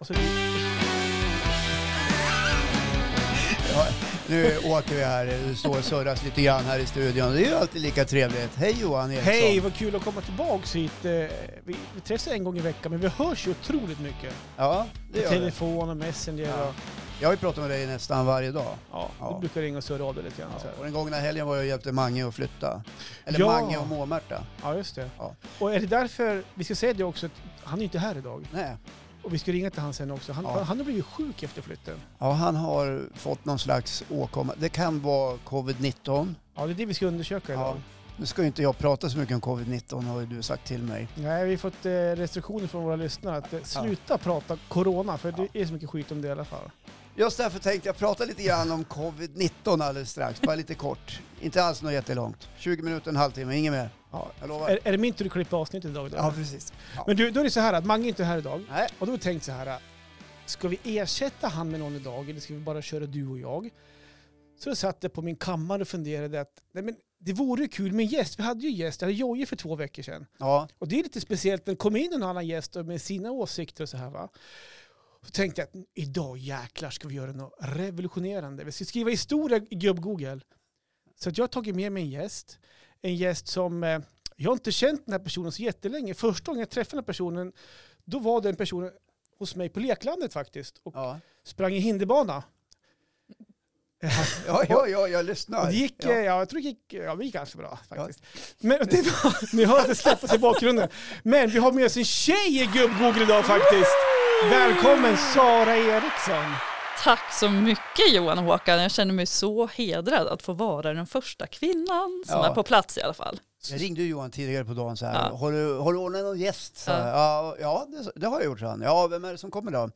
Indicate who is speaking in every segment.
Speaker 1: Alltså,
Speaker 2: Ja, nu åker vi här, det står och surras lite grann här i studion. Det är ju alltid lika trevligt. Hej Johan Eriksson.
Speaker 1: hej, vad kul att komma tillbaks hit. Eh, Vi, vi träffas en gång i veckan, men vi hörs ju otroligt mycket.
Speaker 2: Ja, det
Speaker 1: I
Speaker 2: gör det.
Speaker 1: telefon och messenger.
Speaker 2: Ja.
Speaker 1: Och,
Speaker 2: Jag har ju pratat med dig nästan varje dag.
Speaker 1: ja,
Speaker 2: Ja.
Speaker 1: Du brukar ringa och surra av dig lite grann.
Speaker 2: Ja,
Speaker 1: så här.
Speaker 2: och den gångna helgen var jag och hjälpte Mange att flytta. Eller
Speaker 1: Ja.
Speaker 2: Mange och Måmärta.
Speaker 1: Ja, just det.
Speaker 2: Ja.
Speaker 1: Och är det därför, vi ska säga det också, att han är inte här idag.
Speaker 2: Nej.
Speaker 1: Och vi ska ringa till han sen också. Han,
Speaker 2: Ja.
Speaker 1: han har blivit sjuk efter flytten.
Speaker 2: Ja, han har fått någon slags åkomma. Det kan vara covid-19.
Speaker 1: Ja, det är det vi ska undersöka
Speaker 2: Ja.
Speaker 1: idag.
Speaker 2: Nu ska ju inte jag prata så mycket om covid-19 har ju du sagt till mig.
Speaker 1: Nej, vi har fått eh, restriktioner från våra lyssnare att eh, sluta prata corona, för det är så mycket skit om det i alla fall.
Speaker 2: Just därför tänkte jag prata lite grann om covid-19 alldeles strax. Bara lite kort. Inte alls något jättelångt. 20 minuter, en halvtimme, inget mer.
Speaker 1: Ja.
Speaker 2: Jag lovar.
Speaker 1: Är, är det min tur att klippa avsnittet idag? Då?
Speaker 2: Ja, precis.
Speaker 1: Men du, då är det så här att Mange är inte här idag.
Speaker 2: Nej.
Speaker 1: Och då har vi tänkt så här, ska vi ersätta han med någon idag eller ska vi bara köra du och jag? Så jag satt jag på min kammare och funderade att nej men, det vore ju kul med en gäst. Vi hade ju gäst, jag hade Jojje för två veckor sedan.
Speaker 2: Ja,
Speaker 1: Och det är lite speciellt när det kommer in en annan gäst och med sina åsikter och så här va. Så tänkte jag att idag jäklar ska vi göra något revolutionerande. Vi ska skriva historia i gubb-google. Så att jag har tagit med mig en gäst. En gäst som, eh, jag har inte känt den här personen så jättelänge. Första gången jag träffade den här personen, då var den personen hos mig på leklandet faktiskt och
Speaker 2: ja.
Speaker 1: sprang i hinderbana.
Speaker 2: Ja, ja, ja, jag lyssnar.
Speaker 1: Och det gick, eh,
Speaker 2: ja.
Speaker 1: ja, jag tror det gick, ja, det gick ganska bra faktiskt. Men det var, ni hör att det släppas i bakgrunden. Men vi har med oss en tjej i gubb-Google idag faktiskt. Välkommen Sara Eriksson.
Speaker 3: Tack så mycket Johan och Håkan. Jag känner mig så hedrad att få vara den första kvinnan som
Speaker 2: Ja.
Speaker 3: är på plats i alla fall.
Speaker 2: Jag ringde ju Johan tidigare på dagen så här.
Speaker 3: Ja.
Speaker 2: Har, du, har du ordnat någon gäst? Så här, ja, ja det, det har jag gjort, sa han. Ja, vem är det som kommer då?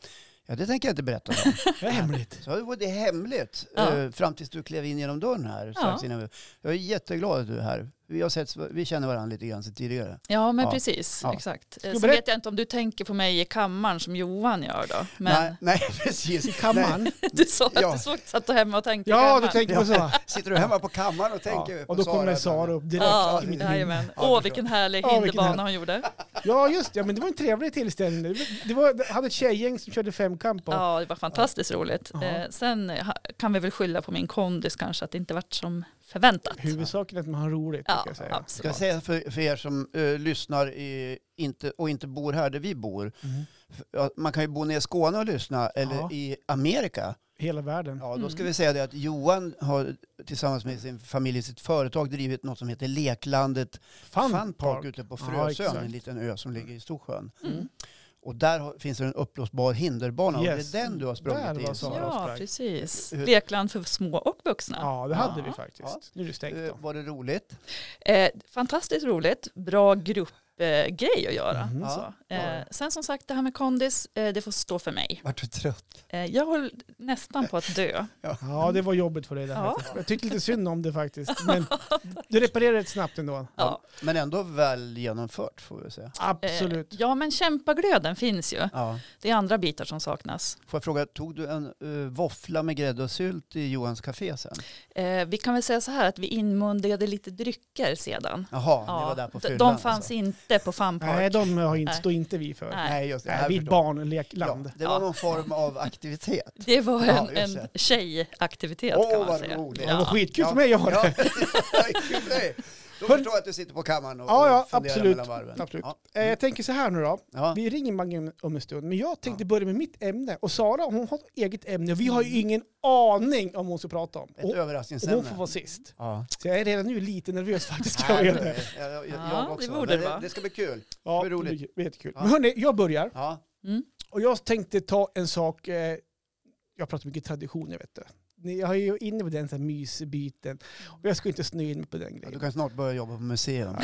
Speaker 2: Ja, det tänker jag inte berätta om.
Speaker 1: Det är hemligt.
Speaker 2: Så det var det hemligt
Speaker 3: Ja.
Speaker 2: eh, fram tills du klev in genom dörren här. Strax
Speaker 3: Ja.
Speaker 2: innan vi, jag är jätteglad att du är här. Vi, har sett, vi känner varandra lite grann sedan tidigare.
Speaker 3: Ja, men
Speaker 2: Ja.
Speaker 3: precis.
Speaker 2: Ja.
Speaker 3: Exakt.
Speaker 1: du
Speaker 3: Sen
Speaker 1: berätta-
Speaker 3: vet jag inte om du tänker på mig i kammaren som Johan gör då.
Speaker 2: Nej,
Speaker 3: Men
Speaker 2: nej, precis.
Speaker 1: I kammaren.
Speaker 3: du sa att
Speaker 2: Ja.
Speaker 3: du såg, satt och hemma och tänkte i
Speaker 1: Ja,
Speaker 3: kammaren.
Speaker 1: du tänker på så.
Speaker 2: Sitter du hemma på kammaren och tänker
Speaker 1: Ja,
Speaker 2: på
Speaker 1: och då kommer
Speaker 2: ibland?
Speaker 1: Sara upp direkt.
Speaker 3: Ja,
Speaker 1: i mitt minne.
Speaker 3: jajamän.
Speaker 2: Ja, jag
Speaker 3: Åh, vilken härlig
Speaker 1: Ja, vilken
Speaker 3: hinderbana
Speaker 1: härlig-
Speaker 3: hon gjorde.
Speaker 1: Ja, just det. Ja, men det var en trevlig tillställning. Det var- Det var, jag hade ett tjejgäng som körde femkamp. Och,
Speaker 3: Ja, det var fantastiskt roligt.
Speaker 1: Ja.
Speaker 3: Eh, sen ha- kan vi väl skylla på min kondis kanske, att det inte vart som förväntat.
Speaker 1: Huvudsaken är att man har roligt,
Speaker 3: Ja,
Speaker 1: brukar jag säga.
Speaker 2: Ska jag
Speaker 3: absolut.
Speaker 2: säga för, för er som eh, lyssnar i, inte, och inte bor här där vi bor.
Speaker 1: Mm.
Speaker 2: F- ja, Man kan ju bo ner i Skåne och lyssna, eller
Speaker 1: Ja.
Speaker 2: i Amerika.
Speaker 1: Hela världen.
Speaker 2: Ja, då ska
Speaker 3: Mm.
Speaker 2: vi säga det att Johan har tillsammans med sin familj, sitt företag, drivit något som heter Leklandet
Speaker 1: Fun,
Speaker 2: Fun Park
Speaker 1: Park.
Speaker 2: ute på
Speaker 1: Ja,
Speaker 2: Frösön,
Speaker 1: exakt.
Speaker 2: en liten ö som ligger i Storsjön.
Speaker 3: Mm.
Speaker 2: Och där har, finns det en uppblåsbar hinderbana
Speaker 1: Yes.
Speaker 2: och det är den du har
Speaker 1: Där
Speaker 2: sprungit
Speaker 1: var Sara.
Speaker 2: i. Sara. Eh,
Speaker 3: Ja,
Speaker 1: Sprang.
Speaker 3: precis.
Speaker 2: Hur-
Speaker 3: Lekland för små och vuxna.
Speaker 1: Ja, det hade
Speaker 3: Ja.
Speaker 1: vi faktiskt.
Speaker 2: Ja.
Speaker 1: Nu är det stängt då.
Speaker 2: Eh, Var det roligt?
Speaker 3: Eh, fantastiskt roligt, bra gruppgrej eh, grej att göra.
Speaker 1: Mhm.
Speaker 3: Så.
Speaker 2: Ja, ja.
Speaker 3: Eh, sen som sagt, det här med kondis, eh, det får stå för mig.
Speaker 2: Vart du trött?
Speaker 3: Eh, jag håller nästan på att dö.
Speaker 1: Ja, det var jobbigt för dig. Där.
Speaker 3: Ja.
Speaker 1: faktiskt. Jag tyckte lite synd om det faktiskt. Men du reparerade det snabbt ändå.
Speaker 3: Ja,
Speaker 2: Men ändå väl genomfört får vi säga.
Speaker 3: eh,
Speaker 1: Absolut.
Speaker 3: ja men kämpaglöden finns ju.
Speaker 2: Ja.
Speaker 3: Det är andra bitar som saknas.
Speaker 2: Får jag fråga, tog du en eh, våffla med grädde och sylt i Johans café sen?
Speaker 3: Eh, vi kan väl säga så här att vi inmundigade lite drycker sedan.
Speaker 2: Jaha, ni
Speaker 3: Ja,
Speaker 2: var där på
Speaker 3: d-
Speaker 2: fyllan.
Speaker 3: de fanns
Speaker 2: alltså.
Speaker 3: inte på Fun Park.
Speaker 1: Nej, de har inte,
Speaker 3: Nej.
Speaker 1: står inte vi för. Nej,
Speaker 3: Nej.
Speaker 2: Nej, just det. jag
Speaker 1: vi är ett
Speaker 2: förstår.
Speaker 1: barnlekland.
Speaker 2: Ja, det var
Speaker 3: Ja.
Speaker 2: någon form av aktivitet.
Speaker 3: Det var
Speaker 2: Ja,
Speaker 3: en,
Speaker 2: just
Speaker 3: en
Speaker 2: det.
Speaker 3: tjejaktivitet
Speaker 2: Åh,
Speaker 3: kan man
Speaker 2: vad
Speaker 3: säga.
Speaker 2: roligt.
Speaker 1: Det var skitkul för mig. Jag
Speaker 2: Ja,
Speaker 1: har det.
Speaker 2: kul för dig. Då förstår jag att du sitter på kammaren och,
Speaker 1: Ja, ja,
Speaker 2: och funderar
Speaker 1: absolut.
Speaker 2: mellan varven.
Speaker 1: Absolut.
Speaker 2: Ja.
Speaker 1: Eh, Jag tänker så här nu då.
Speaker 2: Ja.
Speaker 1: Vi ringer Mange om- om en stund. Men jag tänkte börja med mitt ämne. Och Sara, hon har ett eget ämne.
Speaker 3: Mm.
Speaker 1: Vi har ju ingen aning om vad hon ska prata om.
Speaker 2: Ett
Speaker 1: Och, och
Speaker 2: överraskningsämne.
Speaker 1: hon får vara sist.
Speaker 2: Ja.
Speaker 1: Så jag är redan nu lite nervös faktiskt. Kan
Speaker 2: Ja,
Speaker 1: jag
Speaker 2: jag,
Speaker 1: göra det.
Speaker 2: jag, jag
Speaker 3: Ja, det
Speaker 2: också.
Speaker 3: borde
Speaker 2: Men
Speaker 3: det
Speaker 2: det,
Speaker 3: vara.
Speaker 2: det ska bli kul.
Speaker 1: Ja,
Speaker 2: Vad roligt.
Speaker 1: det blir jättekul.
Speaker 2: Ja.
Speaker 1: Men hörni, jag börjar.
Speaker 2: Ja.
Speaker 3: Mm.
Speaker 1: Och jag tänkte ta en sak, eh, jag pratar mycket traditioner vet du. Ni- Jag är ju inne på den så här mysbiten och jag ska inte snöa in mig på den
Speaker 2: Ja,
Speaker 1: grejen.
Speaker 2: Du kan snart börja jobba på museum. Eh,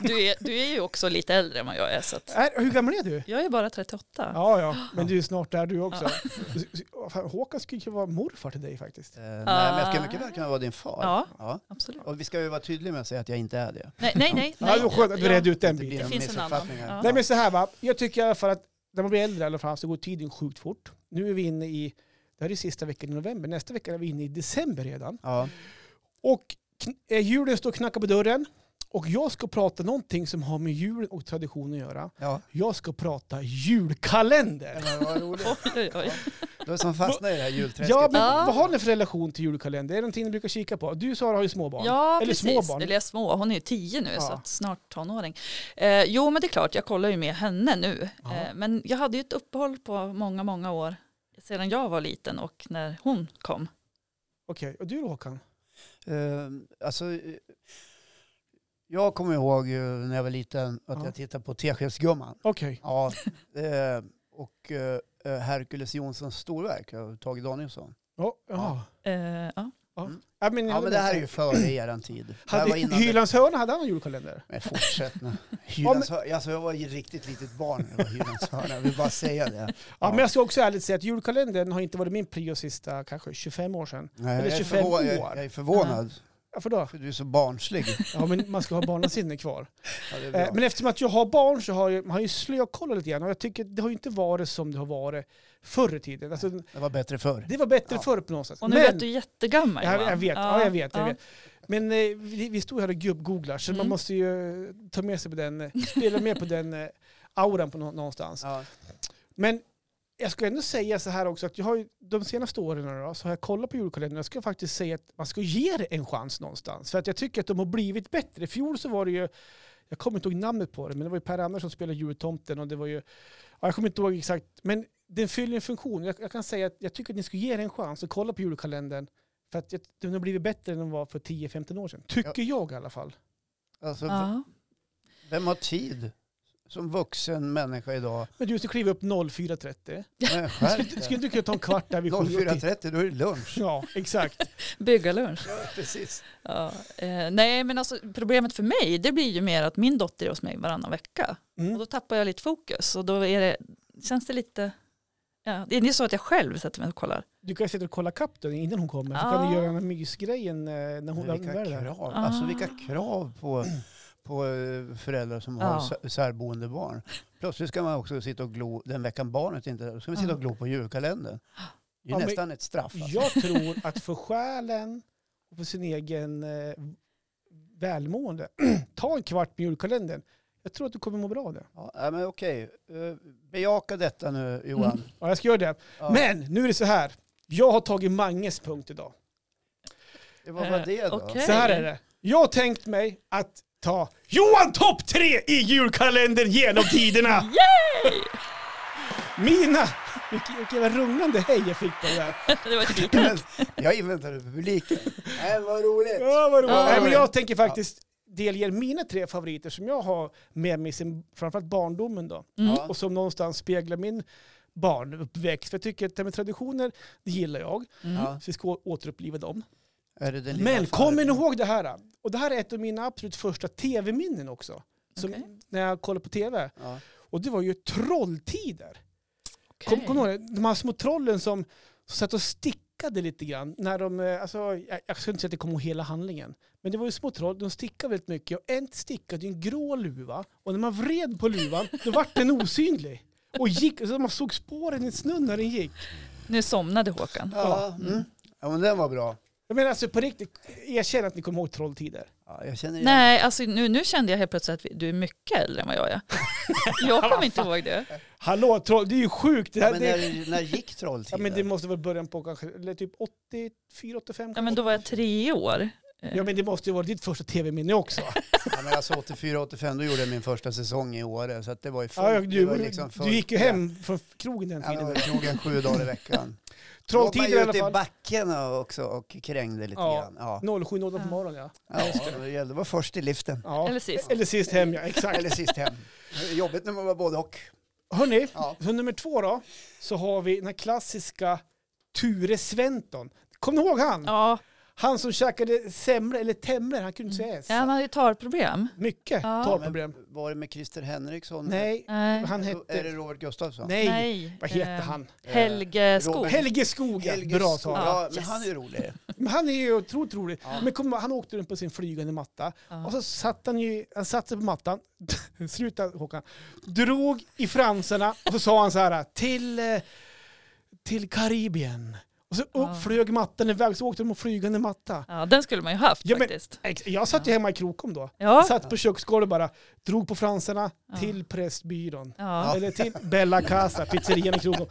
Speaker 3: Du, är, du är ju också lite äldre än vad jag är så att
Speaker 1: Är, Äh, hur gammal är du?
Speaker 3: jag är bara 38.
Speaker 1: Ja, ja, men du är snart där du också. S- s- fan, Håkan skulle ju vara morfar till dig faktiskt.
Speaker 2: Eh, nej, men jag ska mycket väl kunna vara din far.
Speaker 3: Ah. Ja.
Speaker 2: Ja.
Speaker 3: Absolut.
Speaker 2: Och vi ska ju vara tydliga med att säga att jag inte är det.
Speaker 3: Nej, nej, nej.
Speaker 1: Ja, det var skönt att du
Speaker 3: Ja.
Speaker 1: redde ut den
Speaker 2: Det blir
Speaker 1: biten.
Speaker 2: en
Speaker 3: finns en annan.
Speaker 2: missuppfattning här.
Speaker 3: Ja.
Speaker 1: Nej men så här va, jag tycker i alla fall att när man blir äldre i alla fall så går tiden sjukt fort. Nu är vi inne i, det här är sista veckan i november, nästa vecka är vi inne i december redan.
Speaker 2: Ja.
Speaker 1: Och kn- eh, julen står och knackar på dörren. Och jag ska prata någonting som har med julen och tradition att göra.
Speaker 2: Ja,
Speaker 1: Jag ska prata julkalender.
Speaker 2: men vad roligt.
Speaker 3: Oj, oj, oj.
Speaker 2: Du som fastnar i det här julträsket.
Speaker 1: Ja, men
Speaker 3: Ja.
Speaker 1: vad har ni för relation till julkalender? Är det någonting ni brukar kika på? Du Sara har ju småbarn.
Speaker 3: Ja,
Speaker 1: Eller
Speaker 3: precis.
Speaker 1: småbarn.
Speaker 3: Eller jag är små. Hon är ju tio nu, så
Speaker 1: Ja.
Speaker 3: att snart tonåring. Eh, jo, men det är klart, jag kollar ju med henne nu.
Speaker 1: Ja.
Speaker 3: Eh, men jag hade ju ett uppehåll på många, många år sedan jag var liten och när hon kom.
Speaker 1: Okej, och du då Håkan?
Speaker 2: Eh, alltså, eh, jag kommer ihåg eh, när jag var liten att
Speaker 1: Ja.
Speaker 2: jag tittade på Teskedsgumman.
Speaker 1: Okej.
Speaker 2: Ja, eh, och eh, Herkules Jonssons storverk av Tage Danielsson.
Speaker 1: Ja, ja.
Speaker 3: Eh, ja.
Speaker 1: Ja, men,
Speaker 2: Ja, men det här är ju före er tid. Det här var
Speaker 1: Hade,
Speaker 2: innan det-
Speaker 1: Hylands hörna, hade han en julkalender?
Speaker 2: Men fortsätt nu.
Speaker 1: Ja, men-
Speaker 2: Hylands hörna. Alltså, jag var ju riktigt litet barn när jag var i Hylands hörna. Jag vill bara säga det.
Speaker 1: Ja, men jag ska också ärligt säga att julkalendern har inte varit min prio sista kanske 25 år sedan.
Speaker 2: Nej,
Speaker 1: Eller
Speaker 2: jag är
Speaker 1: 25
Speaker 2: förvå-
Speaker 1: år.
Speaker 2: Jag, jag är förvånad,
Speaker 1: Varför då?
Speaker 2: för du är så barnslig.
Speaker 1: Ja, men man ska ha barnasinne kvar.
Speaker 2: Ja, det är
Speaker 1: Eh,
Speaker 2: bra.
Speaker 1: men eftersom att jag har barn så har jag, man har ju slökollat lite grann och jag tycker det har ju inte varit som det har varit förr i tiden. Alltså,
Speaker 2: Det var bättre förr.
Speaker 1: det var bättre
Speaker 2: Ja.
Speaker 1: förr på något sätt.
Speaker 3: Och nu
Speaker 1: men,
Speaker 3: lät du jättegammal.
Speaker 1: jag,
Speaker 3: Johan.
Speaker 1: jag vet, ja, jag vet, jag vet. Men eh, vi, vi stod här och gubb-googlar så man
Speaker 3: Mm.
Speaker 1: måste ju eh, ta med sig på den, eh, spela med på den eh, auran på nå- någonstans.
Speaker 2: Ja.
Speaker 1: Men jag ska ändå säga så här också att jag har ju, de senaste åren nu då, så har jag kollat på julkalendern. Jag ska faktiskt säga att man ska ge det en chans någonstans. För att jag tycker att de har blivit bättre. I fjol så var det ju, jag kommer inte ihåg namnet på det, men det var ju Per Andersson som spelade jultomten och det var ju, ja, jag kommer inte ihåg exakt, men den fyller en funktion. Jag, jag kan säga att jag tycker att ni ska ge det en chans och kolla på julkalendern. För att jag- den har blivit bättre än den var för 10-15 år sedan. Tycker jag i alla fall.
Speaker 2: Alltså,
Speaker 3: Ja.
Speaker 2: Vem har tid som vuxen människa idag?
Speaker 1: Men du ska kliva upp 04.30.
Speaker 2: Men skärp
Speaker 1: Skulle
Speaker 2: dig.
Speaker 1: inte du kunna ta en kvart där vid sju och titta?
Speaker 2: 04.30, då är det lunch.
Speaker 1: Ja, exakt.
Speaker 3: Byggarlunch.
Speaker 2: Ja, precis.
Speaker 3: Ja. Eh, nej, men alltså, problemet för mig det blir ju mer att min dotter är hos mig varannan vecka.
Speaker 1: Mm.
Speaker 3: Och då tappar jag lite fokus och då är det, känns det lite... Ja, det är inte så att jag själv sätter mig och kollar.
Speaker 1: Du kan ju sitta och kolla kapp då innan hon kommer. Så
Speaker 3: Ja.
Speaker 1: kan du göra den här mysgrejen eh, när hon när hon
Speaker 2: Vilka
Speaker 1: är där.
Speaker 2: krav,
Speaker 3: Ah.
Speaker 2: alltså, vilka krav på, på eh, föräldrar som har
Speaker 3: Ja.
Speaker 2: sär- särboende barn. Plötsligt ska man också sitta och glo, den veckan barnet inte är där, då ska man sitta
Speaker 3: Ja.
Speaker 2: och glo på julkalendern. Det är
Speaker 1: Ah. Ja, men-
Speaker 2: nästan ett straff. Alltså.
Speaker 1: Jag tror att för själen och för sin egen eh, välmående, ta en kvart med julkalendern. Jag tror att du kommer må bra av det.
Speaker 2: Ja, nej, men okej, Eh, bejaka detta nu Johan.
Speaker 1: Ja, jag ska göra det.
Speaker 2: Ja,
Speaker 1: Mm. Men nu är det så här. Jag har tagit Manges punkt idag.
Speaker 2: det var vad det då?
Speaker 3: Eh, okej.
Speaker 1: Så här är det. Jag har tänkt mig att ta Johan topp tre i julkalendern genom tiderna.
Speaker 3: Yay!
Speaker 1: Mina! Vilken vilken jävla rungande hej jag fick på det där.
Speaker 3: det var ett litet-
Speaker 2: Men Jag inväntade publiken. Nej, vad roligt.
Speaker 1: Ja, vad roligt.
Speaker 3: Ja.
Speaker 1: Nej, men jag tänker faktiskt delge er mina tre favoriter som jag har med mig sen framförallt barndomen då.
Speaker 3: Mm.
Speaker 2: Ja.
Speaker 1: Och som någonstans speglar min barnuppväxt. För jag tycker att det här med traditioner, det gillar jag.
Speaker 3: Mm.
Speaker 2: Ja.
Speaker 1: Så vi ska å- återuppliva dem.
Speaker 2: Är det den lilla
Speaker 1: Men kom
Speaker 2: farbrorn?
Speaker 1: ihåg det här. Och det här är ett av mina absolut första tv-minnen också. Som
Speaker 3: Okej.
Speaker 1: När jag kollar på tv.
Speaker 2: Ja.
Speaker 1: Och det var ju trolltider.
Speaker 3: Okej.
Speaker 1: Kom, kom ihåg det? de här små trollen som, som satt och stickade lite grann. När de, eh, alltså, jag, jag ska inte säga att jag kommer ihåg hela handlingen. Men det var ju små troll, de stickade väldigt mycket. Och en stickade ju en grå luva. Och när man vred på luvan, då vart den osynlig. Och gick, så man såg spåren i snön när den gick.
Speaker 3: Nu somnade Håkan.
Speaker 2: Ja, mm. ja, men den var bra.
Speaker 1: Jag menar alltså på riktigt, erkänn att ni kommer ihåg trolltider.
Speaker 2: Ja, jag känner igen.
Speaker 3: Nej, alltså nu, nu kände jag helt plötsligt att vi- du är mycket äldre än vad jag är. jag kommer inte ihåg det.
Speaker 1: Hallå troll, det är ju sjukt. Det, här,
Speaker 2: Ja, men
Speaker 1: det,
Speaker 2: när, när gick
Speaker 1: ja,
Speaker 2: trolltiden?
Speaker 1: men det måste vara början på kanske, eller typ 84, 85
Speaker 3: Ja, men då var jag tre år.
Speaker 1: Ja men det måste ju vara ditt första tv-minne också.
Speaker 2: ja, men alltså 84-85, då gjorde jag min första säsong i Åre. Så att det var ju fullt.
Speaker 1: Ja,
Speaker 2: det
Speaker 1: du,
Speaker 2: var liksom fullt.
Speaker 1: du gick ju hem från krogen den
Speaker 2: Ja,
Speaker 1: tiden.
Speaker 2: men jag drog en sju dagar i veckan.
Speaker 1: Trolltider i
Speaker 2: Då var
Speaker 1: alla
Speaker 2: man ju ute i
Speaker 1: fall.
Speaker 2: backen och- också och krängde lite
Speaker 1: Ja.
Speaker 2: grann. Ja.
Speaker 1: 07.00 på
Speaker 3: Ja.
Speaker 1: morgonen ja.
Speaker 2: Ja, det gällde att vara först i liften.
Speaker 1: ja.
Speaker 3: Eller sist.
Speaker 1: Eller sist hem ja, exakt.
Speaker 2: Eller sist hem. Det är Jobbigt när man var både och.
Speaker 1: Hörni,
Speaker 2: Ja.
Speaker 1: så nummer två då. Så har vi den här klassiska Ture Sventon. Kommer ni ihåg han?
Speaker 3: Ja,
Speaker 1: Han som käkade semlor, eller temlor, han kunde inte säga S.
Speaker 3: Ja, han hade ju tarproblem.
Speaker 1: Mycket
Speaker 3: Ja.
Speaker 1: talproblem.
Speaker 2: Var det med Christer Henriksson?
Speaker 1: Nej,
Speaker 3: Nej.
Speaker 1: han
Speaker 2: Är det
Speaker 1: hette...
Speaker 2: Robert Gustafsson?
Speaker 1: Nej.
Speaker 3: Nej.
Speaker 1: vad heter
Speaker 3: Eh,
Speaker 1: han? Eh,
Speaker 3: Helge
Speaker 2: Robert.
Speaker 3: Skog.
Speaker 1: Helge Skog, ja.
Speaker 2: Eh, Helge
Speaker 1: bra
Speaker 2: Skog.
Speaker 1: tal.
Speaker 2: Ja,
Speaker 3: Ja,
Speaker 2: men
Speaker 3: yes.
Speaker 2: han är ju rolig.
Speaker 1: Men han är ju otroligt rolig.
Speaker 2: Ja.
Speaker 1: Men kom, han åkte runt på sin flygande matta. Och så satt han ju, han satte sig på mattan, sluta Håkan, drog i fransarna och så sa han så här till, eh, till Karibien. Och Och så upp
Speaker 3: Ja.
Speaker 1: flög mattan iväg, så åkte de och flygande matta.
Speaker 3: Ja, den skulle man ju haft
Speaker 1: Ja, men-
Speaker 3: faktiskt.
Speaker 1: Ex- Jag satt ju hemma i Krokom då.
Speaker 3: Ja.
Speaker 1: Satt på köksgolvet bara, drog på fransarna
Speaker 3: Ja.
Speaker 1: till prästbyrån.
Speaker 3: Ja.
Speaker 1: Eller till Bella Casa, pizzerian i Krokom.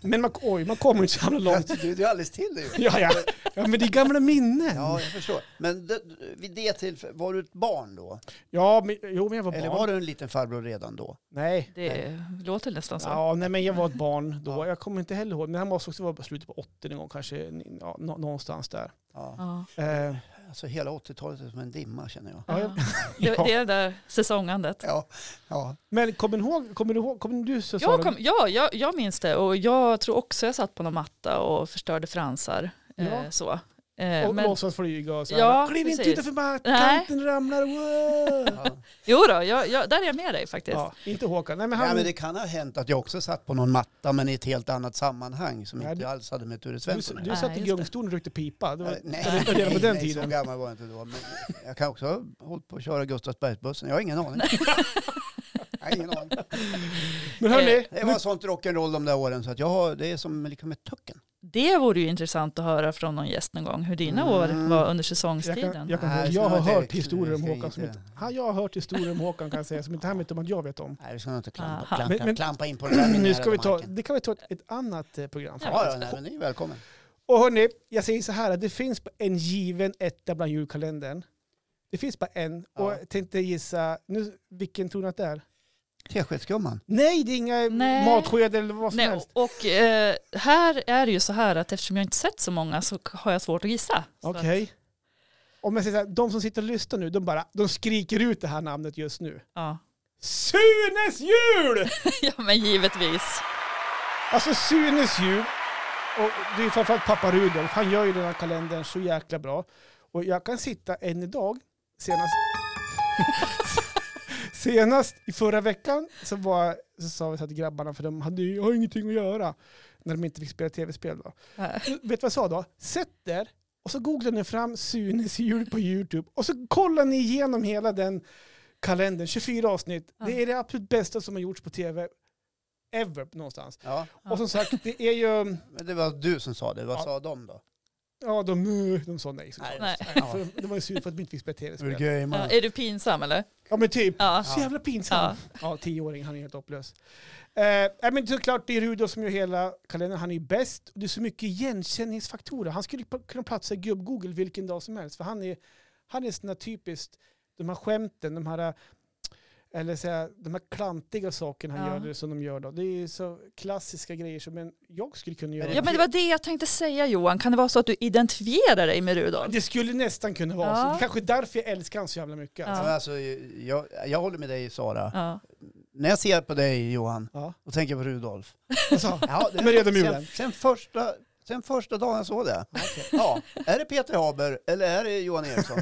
Speaker 1: Men man, oj, man kommer inte så jävla långt.
Speaker 2: Du, du är alldeles till dig.
Speaker 1: Ja, ja. ja, men det är gamla minnen.
Speaker 2: Ja, jag förstår. Men det, vid det tillfället, var du ett barn då?
Speaker 1: Ja, men, jo, men jag var barn.
Speaker 2: Eller var du en liten farbror redan då?
Speaker 1: Nej.
Speaker 3: Det låter nästan så.
Speaker 1: Ja, nej, men jag var ett barn då.
Speaker 2: Ja.
Speaker 1: Jag kommer inte heller ihåg. Men han måste också vara på slutet på 80 någon gång, kanske ja, nå- någonstans där.
Speaker 2: Ja.
Speaker 3: Ja.
Speaker 1: Eh,
Speaker 2: Alltså hela 80-talet är som en dimma känner jag.
Speaker 1: Ja,
Speaker 3: Ja.
Speaker 1: jag-
Speaker 3: Det,
Speaker 1: Ja.
Speaker 3: det är det där säsongandet.
Speaker 2: Ja, ja.
Speaker 1: men kommer du ihåg, kommer du ihåg, kommer du så
Speaker 3: Jag, kom, ja, jag, jag minns det och jag tror också jag satt på någon matta och förstörde fransar.
Speaker 1: Ja.
Speaker 3: Eh, så. Eh,
Speaker 1: och
Speaker 3: men,
Speaker 1: låtsas flyga och så här.
Speaker 3: Ja,
Speaker 1: Kliv inte
Speaker 3: precis.
Speaker 1: utanför bara
Speaker 3: Nej.
Speaker 1: kanten ramlar. Wow.
Speaker 2: ja.
Speaker 3: jo då, jag, jag, där är jag med dig faktiskt.
Speaker 1: Ja, inte Håkan. Nej, men han,
Speaker 2: Nej, men det kan ha hänt att jag också satt på någon matta men i ett helt annat sammanhang som
Speaker 1: Nej,
Speaker 2: inte
Speaker 1: du-
Speaker 2: alls hade med Ture Svensson
Speaker 1: du,
Speaker 2: att
Speaker 1: du
Speaker 2: göra.
Speaker 1: satt
Speaker 3: Nej,
Speaker 1: i
Speaker 3: just det.
Speaker 1: gungstolen och rökte pipa. Det var,
Speaker 2: Nej,
Speaker 1: det var redan på den
Speaker 2: nej, så
Speaker 1: tiden.
Speaker 2: gammal var jag inte då. Men jag kan också ha hållit på att köra Gustavsbergsbussen. Jag har ingen aning. jag har ingen aning.
Speaker 1: Men hörni,
Speaker 2: Det var sånt rock'n'roll de där åren så att jag har, det är som liksom ett tucken.
Speaker 3: Det vore ju intressant att höra från någon gäst någon gång hur dina
Speaker 2: Mm.
Speaker 3: år var under
Speaker 1: jag,
Speaker 3: säsongstiden.
Speaker 1: kan, jag, kan,
Speaker 2: Nej,
Speaker 1: jag,
Speaker 2: det ska
Speaker 1: har
Speaker 2: vara
Speaker 1: hört
Speaker 2: direkt.
Speaker 1: historier om
Speaker 2: Vi ska
Speaker 1: Håkan som
Speaker 2: inte-
Speaker 1: inte... Han, jag har hört historier om Håkan kan jag säga som inte han vet om att jag vet om.
Speaker 2: Nej, det ska nog inte
Speaker 3: Ah.
Speaker 2: klampa, klampa,
Speaker 1: Men- men-
Speaker 2: klampa in på den där
Speaker 1: Nu ska vi ta,
Speaker 2: mineralbanken.
Speaker 1: det kan vi ta ett, ett annat eh, program. för.
Speaker 2: Ja, ja, nej, men ni är välkommen.
Speaker 1: Och hörni, jag säger så här, att det finns bara en given etta bland julkalendern. Det finns bara en,
Speaker 2: Ja.
Speaker 1: och jag tänkte gissa, nu, vilken tror ni att det är?
Speaker 2: Teskedsgumman.
Speaker 1: Nej, det är inga
Speaker 3: Nej.
Speaker 1: matskedar eller vad som
Speaker 3: Nej,
Speaker 1: helst.
Speaker 3: och och, eh, här är det ju så här att eftersom jag inte sett så många så har jag svårt att gissa. Så
Speaker 1: Okej.
Speaker 3: att-
Speaker 1: Om jag säger så här, de som sitter och lyssnar nu, de bara, de skriker ut det här namnet just nu.
Speaker 3: Ja.
Speaker 1: Sunes jul!
Speaker 3: ja, men givetvis.
Speaker 1: Alltså Sunes jul, och det är framförallt pappa Rudolf, han gör ju den här kalendern så jäkla bra. Och jag kan sitta än idag, senast... senast i förra veckan så, var, så sa vi så här till grabbarna, för de hade ju jag har ingenting att göra när de inte fick spela tv-spel. Då.
Speaker 3: Ja.
Speaker 1: Vet du vad jag sa då? Sätt er och så googlar ni fram Sunes jul på YouTube och så kollar ni igenom hela den kalendern, 24 avsnitt.
Speaker 3: Ja.
Speaker 1: Det är det absolut bästa som har gjorts på tv ever någonstans.
Speaker 2: Ja,
Speaker 3: Ja.
Speaker 1: Och som sagt, det är ju...
Speaker 2: men det var du som sa det. Vad
Speaker 1: Ja.
Speaker 2: sa de då?
Speaker 1: Ja, de, de sa nej. såklart.
Speaker 2: Nej.
Speaker 3: Nej.
Speaker 1: För de- det var ju synd för att de inte fick spela tv-spel.
Speaker 2: Urgöjman.
Speaker 3: Ja, är du pinsam eller?
Speaker 1: Ja, men typ.
Speaker 3: Ja.
Speaker 1: Så jävla
Speaker 3: ja.
Speaker 1: pinsam. Ja, tioåring, han är helt hopplös. Eh, nej, men såklart, det är Rudolf som gör hela kalendern. Han är ju bäst. Och det är så mycket igenkänningsfaktorer. Han skulle pa- kunna platsa i gubb-Google vilken dag som helst. För han är, han är sådana typiskt, de här skämten, de här, eh, eller säga, de här klantiga sakerna han
Speaker 3: Ja.
Speaker 1: gör, som de gör då. Det är ju så klassiska grejer som en, jag skulle kunna göra.
Speaker 3: Ja men det var det jag tänkte säga Johan, kan det vara så att du identifierar dig med Rudolf?
Speaker 1: Det skulle nästan kunna vara så.
Speaker 3: Ja.
Speaker 1: Det är kanske är därför jag älskar han så jävla mycket.
Speaker 3: Ja.
Speaker 1: Alltså.
Speaker 2: Men Alltså, jag, jag håller med dig Sara.
Speaker 3: Ja.
Speaker 2: När jag ser på dig Johan
Speaker 1: Ja.
Speaker 2: och tänker på Rudolf.
Speaker 1: Alltså,
Speaker 2: Ja, det,
Speaker 1: Med röda mulen.
Speaker 2: sen, sen, första, sen första dagen jag såg det.
Speaker 1: okej.
Speaker 2: Ja, är det Peter Haber eller är det Johan Eriksson?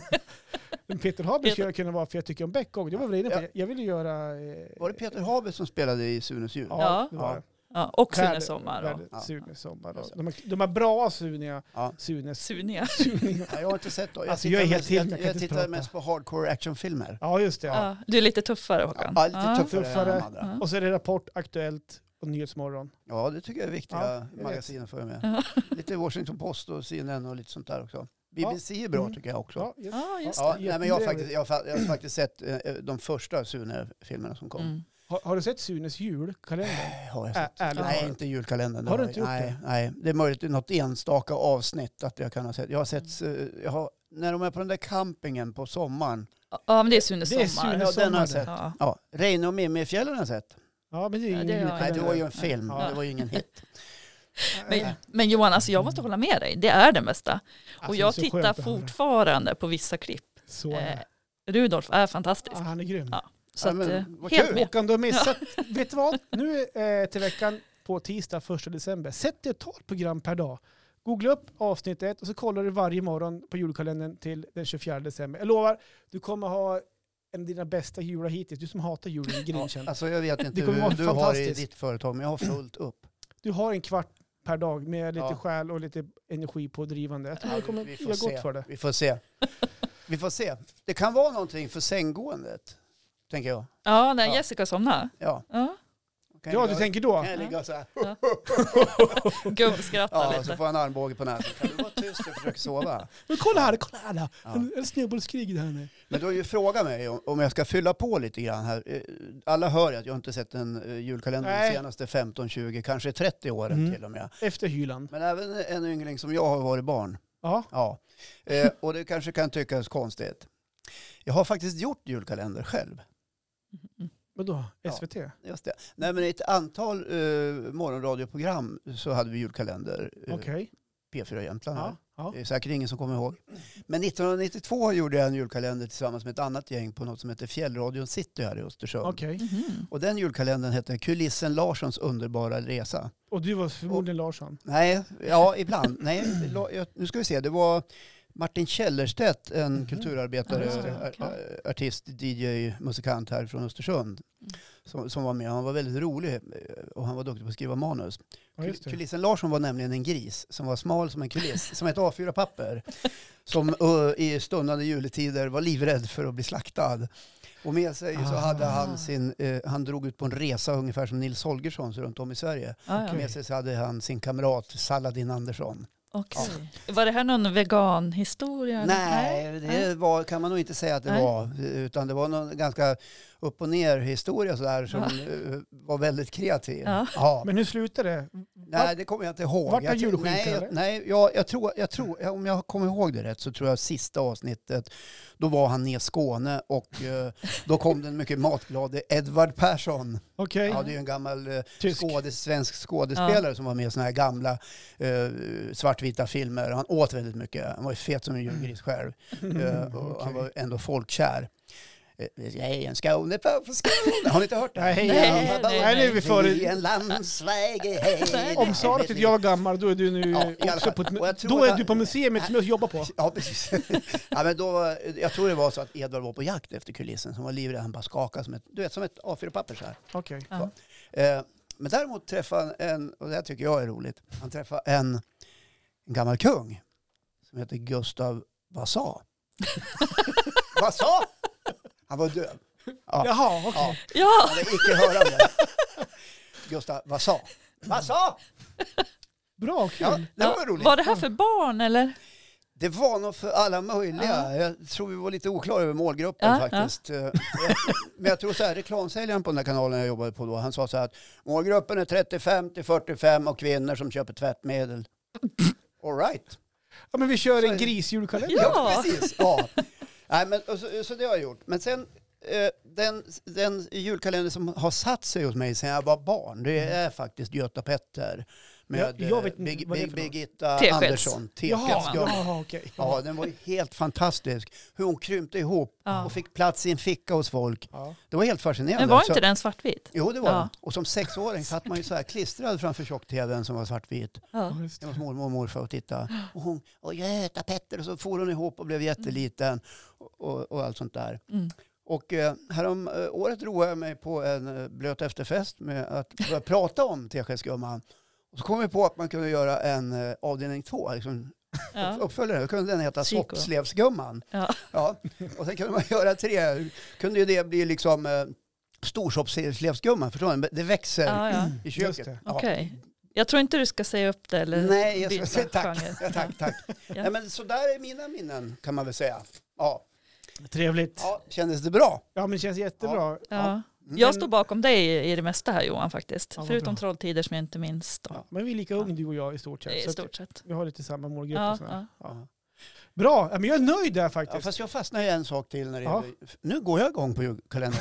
Speaker 1: Men Peter Haber skulle
Speaker 3: Peter-
Speaker 1: jag kunna vara för jag tycker om Beck också. Det var väl inne på.
Speaker 2: Ja.
Speaker 1: Jag ville göra... eh,
Speaker 2: Var det Peter Haber som spelade i Sunes jul?
Speaker 1: Ja,
Speaker 3: Ja.
Speaker 1: det var det.
Speaker 3: Ja. Och
Speaker 1: Värld-
Speaker 3: Sunes sommar. och-
Speaker 1: Värld-
Speaker 2: Ja.
Speaker 1: Sune Sommar.
Speaker 2: Just
Speaker 1: Och. De, här- de här bra Sunia,
Speaker 2: Ja.
Speaker 1: Sunes...
Speaker 3: Sunia.
Speaker 1: Sunia.
Speaker 2: Nej, jag har inte sett då.
Speaker 1: Alltså,
Speaker 2: tittar
Speaker 1: jag är helt
Speaker 2: mest-
Speaker 1: till, men
Speaker 2: jag,
Speaker 1: jag
Speaker 2: jag,
Speaker 1: kan inte
Speaker 2: tittar
Speaker 1: prata.
Speaker 2: mest på hardcore actionfilmer.
Speaker 1: Ja, just det.
Speaker 3: Ja. Du är lite tuffare Håkan.
Speaker 2: Ja, lite tuffare, än
Speaker 1: Tuffare.
Speaker 2: de andra.
Speaker 1: Och så är det Rapport, Aktuellt och Nyhetsmorgon.
Speaker 2: Ja, det tycker jag är viktiga
Speaker 1: jag vet.
Speaker 2: magasin för mig.
Speaker 3: Ja.
Speaker 2: Lite Washington Post och CNN och lite sånt där också. BBC är bra
Speaker 1: Mm.
Speaker 2: tycker jag också.
Speaker 1: Ja, just.
Speaker 3: Ja, just
Speaker 2: Ja,
Speaker 1: det.
Speaker 2: nej, men jag, har
Speaker 1: Jättetrevligt.
Speaker 2: faktiskt, jag, har, fa- jag har faktiskt sett eh, de första Sune-filmerna som kom. Äh,
Speaker 3: Mm.
Speaker 1: Har, har du sett Sunes julkalender?
Speaker 2: Har jag
Speaker 1: Ä-
Speaker 2: sett.
Speaker 1: ärligt
Speaker 2: nej,
Speaker 1: talat.
Speaker 2: inte julkalendern. det
Speaker 1: Har du inte
Speaker 2: jag-
Speaker 1: gjort
Speaker 2: nej, Nej, det är möjligt i något enstaka avsnitt att jag kan ha sett. Jag har sett, eh, jag har, när de är på den där campingen på sommaren.
Speaker 3: Ja, men det är Sunes
Speaker 1: Det är
Speaker 3: sommar.
Speaker 1: Sunes
Speaker 2: Ja, den har jag
Speaker 1: sommar.
Speaker 2: sett.
Speaker 3: Ja.
Speaker 2: Ja, Reine och Mimmi i fjällen har jag sett.
Speaker 1: Ja, men det är ju
Speaker 3: Ja,
Speaker 1: ingen
Speaker 3: det har jag
Speaker 2: Nej, det
Speaker 1: julkalender.
Speaker 2: var ju en film,
Speaker 1: Ja.
Speaker 2: det var ju ingen hit.
Speaker 3: Men, men Johan, alltså jag måste hålla med dig. Det är den bästa.
Speaker 1: Alltså,
Speaker 3: Och
Speaker 1: det är
Speaker 3: jag
Speaker 1: så skönt
Speaker 3: tittar
Speaker 1: att höra.
Speaker 3: fortfarande på vissa klipp.
Speaker 1: Så är
Speaker 3: Eh,
Speaker 1: det.
Speaker 3: Rudolf är
Speaker 1: Ja,
Speaker 3: fantastisk.
Speaker 1: han är grym.
Speaker 3: Ja. Så
Speaker 2: Ja,
Speaker 3: att,
Speaker 2: men
Speaker 3: eh,
Speaker 2: vad
Speaker 3: helt
Speaker 2: kul.
Speaker 3: med.
Speaker 1: Håkan, du har missat. Vet du vad? Nu eh, till veckan på tisdag 1 december. Sätt dig och ta ett program per dag. Googla upp avsnittet och så kollar du varje morgon på julkalendern till den 24 december. Jag lovar, du kommer ha en av dina bästa jular hittills. Du som hatar julen,
Speaker 2: Ja,
Speaker 1: grinchen.
Speaker 2: alltså jag vet inte
Speaker 1: kommer vara
Speaker 2: hur du har det i
Speaker 1: fantastiskt.
Speaker 2: ditt företag, men jag har fullt upp.
Speaker 1: Du har en kvart per dag med lite
Speaker 2: Ja.
Speaker 1: själ och lite energi pådrivande. Jag tror
Speaker 2: Ja,
Speaker 1: det kommer göra gott
Speaker 2: se.
Speaker 1: för det.
Speaker 2: Vi får se. Vi får se. Det kan vara någonting för sänggåendet, tänker jag.
Speaker 3: Ja, när
Speaker 2: Ja.
Speaker 3: Jessica somnade.
Speaker 2: Ja,
Speaker 3: Ja.
Speaker 2: Kan jag
Speaker 1: Ja, du
Speaker 2: ligga-
Speaker 1: tänker då?
Speaker 2: Kan jag ligga och så här?
Speaker 3: Gubbskrattar
Speaker 2: Ja, så
Speaker 3: lite.
Speaker 2: får jag en armbåge på näsan. Kan du vara tyst? Jag försöker sova.
Speaker 1: Men kolla här, kolla här! då.
Speaker 2: Ja.
Speaker 1: En- En snöbollskrig där nu.
Speaker 2: Men du har ju frågat mig om- om jag ska fylla på lite grann här. Eh, Alla hör ju att jag inte sett en eh, julkalender de
Speaker 1: Nej.
Speaker 2: senaste 15, 20, kanske 30 åren
Speaker 1: Mm.
Speaker 2: till och med.
Speaker 1: Efter hylan.
Speaker 2: Men även en yngling som jag har varit barn.
Speaker 1: Ja.
Speaker 2: Ja. Eh, och det kanske kan tyckas konstigt. Jag har faktiskt gjort julkalender själv.
Speaker 1: Vadå?
Speaker 2: Ja.
Speaker 1: SVT?
Speaker 2: Just det. Nej, men i ett antal eh, morgonradioprogram så hade vi julkalender. Eh,
Speaker 1: Okej.
Speaker 2: P4 Jämtland. här.
Speaker 1: Ja. Ja.
Speaker 2: Det är säkert ingen som kommer ihåg. Men 1992 gjorde jag en julkalender tillsammans med ett annat gäng på något som heter Fjällradion City här i Östersund.
Speaker 1: Okej.
Speaker 3: Mhm.
Speaker 2: Och den julkalendern hette Kulissen Larssons underbara resa.
Speaker 1: Och du var förmodligen Larsson?
Speaker 2: Nej, ja ibland. Nej, la- jag- nu ska vi se. Det var Martin Källerstedt, en
Speaker 1: Mhm.
Speaker 2: kulturarbetare,
Speaker 3: Ja, just det.
Speaker 2: ar-
Speaker 3: Okej.
Speaker 2: ar- artist, DJ, musikant här från Östersund.
Speaker 1: Mm.
Speaker 2: Som, som var med. Han var väldigt rolig eh, och han var duktig på att skriva manus.
Speaker 1: Ja, just det.
Speaker 2: Kulissen Larsson var nämligen en gris som var smal som en kuliss, som ett A4-papper. Som ö, i stundande juletider var livrädd för att bli slaktad. Och med sig så
Speaker 1: Ah.
Speaker 2: hade han sin, eh, han drog ut på en resa ungefär som Nils Holgerssons runt om i Sverige.
Speaker 3: Ja, ja.
Speaker 1: Okej.
Speaker 2: Med sig så hade han sin kamrat Saladin Andersson.
Speaker 3: Okej. Var det här någon veganhistoria?
Speaker 2: Nej, det var, kan man nog inte säga att det
Speaker 3: Nej.
Speaker 2: var. Utan det var någon ganska upp och ner historia sådär som
Speaker 3: Ja.
Speaker 2: eh, var väldigt kreativ.
Speaker 3: Ja.
Speaker 2: Ja.
Speaker 1: Men hur slutade det?
Speaker 2: Nej, det kommer jag inte ihåg.
Speaker 1: Vart är
Speaker 2: Jag tror-
Speaker 1: julskinkan,
Speaker 2: Nej,
Speaker 1: eller?
Speaker 2: jag, nej jag, jag tror, jag tror, ja, om jag kommer ihåg det rätt så tror jag sista avsnittet, då var han ner i Skåne och eh, då kom den mycket matglade Edvard Persson.
Speaker 1: Okej.
Speaker 2: Ja, det är ju en gammal eh,
Speaker 1: Tysk.
Speaker 2: skådes, svensk skådespelare som var med i sådana här gamla eh, svartvita filmer. Han åt väldigt mycket. Han var ju fet som en julgris själv.
Speaker 1: Mm.
Speaker 2: Eh, och Han var ändå folkkär. Eh, Jag är en skåne på på Skåne. Har ni inte hört det?
Speaker 1: Nej,
Speaker 3: nej, nej.
Speaker 1: Nej, nu är vi
Speaker 2: Det är
Speaker 1: före...
Speaker 2: en landsväg hej.
Speaker 1: Om Sara tyckte jag var gammal, då är du nu
Speaker 2: Ja, i alla
Speaker 1: också
Speaker 2: fall.
Speaker 1: på ett,
Speaker 2: Och jag tror
Speaker 1: Då
Speaker 2: att
Speaker 1: är
Speaker 2: han-
Speaker 1: du på museet som jag jobbar på.
Speaker 2: Ja, precis. ja, men då, var- jag tror det var så att Edvard var på jakt efter kulissen. Som var livrädd. Han bara skakade som ett, du vet, som ett A4-papper så här.
Speaker 1: Okej.
Speaker 3: Ja.
Speaker 2: Eh, men däremot träffade han en, och det här tycker jag är roligt, han träffade en, en gammal kung som heter Gustav Vasa. Vasa? Han var döv. Ja.
Speaker 1: Jaha, okej.
Speaker 2: Ja,
Speaker 3: Ja,
Speaker 2: han är icke-hörande. Gustav Vasa. Vasa!
Speaker 1: Bra, kul.
Speaker 2: Ja, det var roligt.
Speaker 3: var det här för barn eller?
Speaker 2: Det var nog för alla möjliga.
Speaker 3: Ja.
Speaker 2: Jag tror vi var lite oklara över målgruppen
Speaker 3: Ja,
Speaker 2: faktiskt. Eh, Men jag tror så här, reklamsäljaren på den här kanalen jag jobbade på då, han sa så här att målgruppen är 35 till 45 och kvinnor som köper tvättmedel. All right.
Speaker 1: Ja, men vi kör
Speaker 2: Så-
Speaker 1: en grisjulkalender.
Speaker 3: Ja.
Speaker 2: precis. Ja. Nej, men, och så, så det har jag gjort. Men sen, eh, den, den julkalender som har satt sig hos mig sedan jag var barn, det är faktiskt Göta Petter med
Speaker 1: Mm. Ja, jag vet
Speaker 2: eh,
Speaker 1: inte
Speaker 2: Big,
Speaker 1: vad det är
Speaker 2: Big,
Speaker 1: för något.
Speaker 2: Birgitta
Speaker 3: Teskeds.
Speaker 2: Andersson.
Speaker 1: Jaha,
Speaker 2: Teskeds-
Speaker 1: jaha, okej.
Speaker 2: Ja, den var ju helt fantastisk. Hur hon krympte ihop
Speaker 3: Ja.
Speaker 2: och fick plats i en ficka hos folk.
Speaker 1: Ja.
Speaker 2: Det var helt fascinerande.
Speaker 3: Men var
Speaker 2: Så-
Speaker 3: inte den svartvit?
Speaker 2: Jo, det var
Speaker 3: Ja.
Speaker 2: den. Och som sexåring satt man ju så här klistrad framför tjock-tvn som var svartvit.
Speaker 3: Ja.
Speaker 1: Ja, just
Speaker 2: Jag
Speaker 1: det.
Speaker 2: var hos mormor och morfar och tittade. Och hon, och Göta Petter, och så for hon ihop och blev jätteliten. Och, och, och allt sånt där.
Speaker 3: Mm.
Speaker 2: Och eh, härom eh, året roade jag mig på en eh, blöt efterfest med att börja prata om Teskedsgumman. Och så kom vi på att man kunde göra en eh, avdelning två, liksom
Speaker 3: Ja.
Speaker 2: uppföljare. Då kunde den heta
Speaker 3: Psyko.
Speaker 2: Soppslevsgumman.
Speaker 3: Ja.
Speaker 2: Ja. Och sen kunde man göra tre. kunde ju det bli liksom eh, Storsoppslevsgumman, förstår ni? Men Det växer
Speaker 3: Ja, ja.
Speaker 2: i
Speaker 1: Just
Speaker 2: köket.
Speaker 1: det.
Speaker 2: Ja.
Speaker 3: Okej. Jag tror inte du ska säga upp det eller
Speaker 2: Nej, jag ska
Speaker 3: byta
Speaker 2: säga tack.
Speaker 3: genre.
Speaker 2: Ja, tack, tack. Nej, men så där är mina minnen, kan man väl säga. Ja,
Speaker 1: Mm. Trevligt.
Speaker 2: ja kändes det bra?
Speaker 1: Ja, men det känns jättebra.
Speaker 3: Ja.
Speaker 2: Mm.
Speaker 3: Jag står bakom dig i- i det mesta här Johan faktiskt.
Speaker 1: Ja, vad
Speaker 3: Förutom
Speaker 1: bra.
Speaker 3: Trolltider som jag inte minns då.
Speaker 2: Ja,
Speaker 1: Men vi är lika ung du och jag i stort
Speaker 3: I
Speaker 1: sett. Så att
Speaker 3: stort sett.
Speaker 1: vi har lite samma målgrupp
Speaker 3: Ja,
Speaker 1: och sådär.
Speaker 3: ja.
Speaker 1: Ja. Bra, ja, men jag är nöjd där
Speaker 2: Ja,
Speaker 1: faktiskt.
Speaker 2: fast jag fastnar i en sak till när det
Speaker 1: Ja.
Speaker 2: gäller... Nu går jag igång på julkalendern.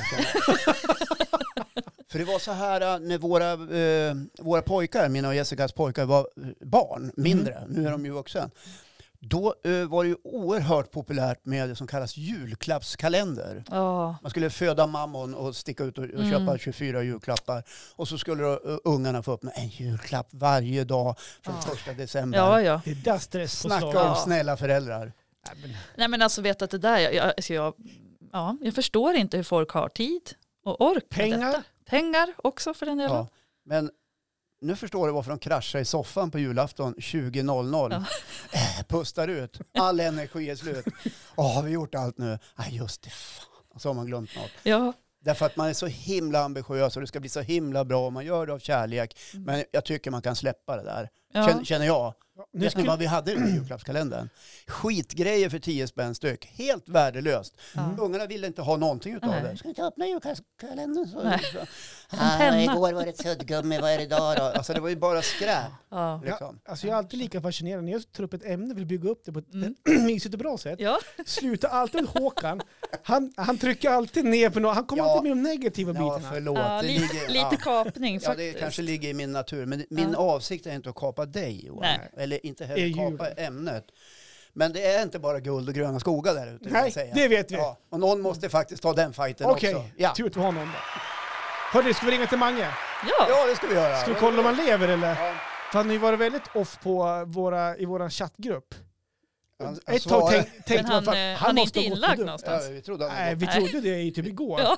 Speaker 2: För det var så här eh, när våra, eh, våra pojkar, mina och Jessicas pojkar, var eh, barn, mindre. Nu är de ju vuxna. Då eh, var det ju oerhört populärt med det som kallas julklappskalender.
Speaker 3: Ja.
Speaker 2: Man skulle föda mammon och sticka ut och, och
Speaker 3: Mm.
Speaker 2: köpa 24 julklappar. Och så skulle då, eh, ungarna få upp med en julklapp varje dag från
Speaker 3: Ja.
Speaker 2: första december.
Speaker 3: Ah. ja, ja.
Speaker 1: Det där stresspåslag.
Speaker 2: Snacka om
Speaker 3: Ja.
Speaker 2: snälla föräldrar.
Speaker 1: Nej, men-
Speaker 3: Nej men alltså vet att det där, jag, jag, alltså, jag, ja, jag förstår inte hur folk har tid och ork. med
Speaker 1: Pengar?
Speaker 3: Detta. Pengar också för den delen.
Speaker 2: Ja. Men nu förstår du varför de kraschar i soffan på julafton 20.00. Äh, pustar ut. All energi är slut. Åh, har vi gjort allt nu? Nej, just det. Fan. Och så har man glömt något.
Speaker 3: Ja.
Speaker 2: Därför att man är så himla ambitiös och det ska bli så himla bra och man gör det av kärlek.
Speaker 3: Mm.
Speaker 2: Men jag tycker man kan släppa det där.
Speaker 3: Ja.
Speaker 2: Känner, känner jag.
Speaker 1: Ja, nu
Speaker 2: Nu Vet ni
Speaker 1: skulle,
Speaker 2: vad vi hade i den här julklappskalendern? Skitgrejer för 10 spänn styck. Helt värdelöst.
Speaker 3: Ja.
Speaker 2: Ungarna ville inte ha någonting utav
Speaker 3: Nej.
Speaker 2: det. Ska vi inte öppna julklappskalendern?
Speaker 3: Nej.
Speaker 2: Så, så.
Speaker 3: En
Speaker 2: Ah,
Speaker 3: penna.
Speaker 2: igår var det ett suddgummi, vad är det idag då? Alltså det var ju bara skräp.
Speaker 3: Ja.
Speaker 2: Liksom.
Speaker 1: alltså jag är alltid lika fascinerad när jag tar upp ett ämne och vill bygga upp det på ett
Speaker 3: Mm.
Speaker 1: mysigt och bra sätt.
Speaker 3: Ja.
Speaker 1: Sluta alltid med Håkan. Han, han trycker alltid ner på något. Han kommer
Speaker 2: Ja.
Speaker 1: alltid med de negativa
Speaker 2: Ja,
Speaker 1: bitarna.
Speaker 2: förlåt.
Speaker 3: Ja,
Speaker 2: det
Speaker 3: lite,
Speaker 2: ligger-
Speaker 3: lite kapning
Speaker 2: Ja,
Speaker 3: faktiskt.
Speaker 2: det kanske ligger i min natur. Men min
Speaker 3: Ja.
Speaker 2: avsikt är inte att kapa dig Johan.
Speaker 3: Nej.
Speaker 2: Eller inte
Speaker 1: Det är
Speaker 2: heller
Speaker 1: julen.
Speaker 2: kapa ämnet. Men det är inte bara guld och gröna skogar där ute. vill jag
Speaker 1: Nej,
Speaker 2: säga.
Speaker 1: det vet vi.
Speaker 2: Ja, och någon måste faktiskt ta den fighten
Speaker 1: Okej,
Speaker 2: också. Ja.
Speaker 1: tur att vi har någon där. Hörni, ska vi ringa till Mange?
Speaker 3: Ja.
Speaker 2: ja, det ska vi göra.
Speaker 1: Ska vi kolla om han lever eller?
Speaker 2: Ja,
Speaker 1: För han har ju varit väldigt off på våra, i vår chattgrupp.
Speaker 2: han, han
Speaker 1: Ett tag
Speaker 2: svarar.
Speaker 1: tänk, tänkte
Speaker 3: Men
Speaker 1: man
Speaker 3: han,
Speaker 1: fan,
Speaker 3: eh, han är
Speaker 1: måste
Speaker 3: inte
Speaker 1: ha gått på
Speaker 3: inlagd
Speaker 1: dum.
Speaker 2: Ja,
Speaker 3: någonstans.
Speaker 2: vi trodde han
Speaker 1: Nej, vi
Speaker 3: Nej.
Speaker 1: trodde det ju typ igår.
Speaker 3: Ja,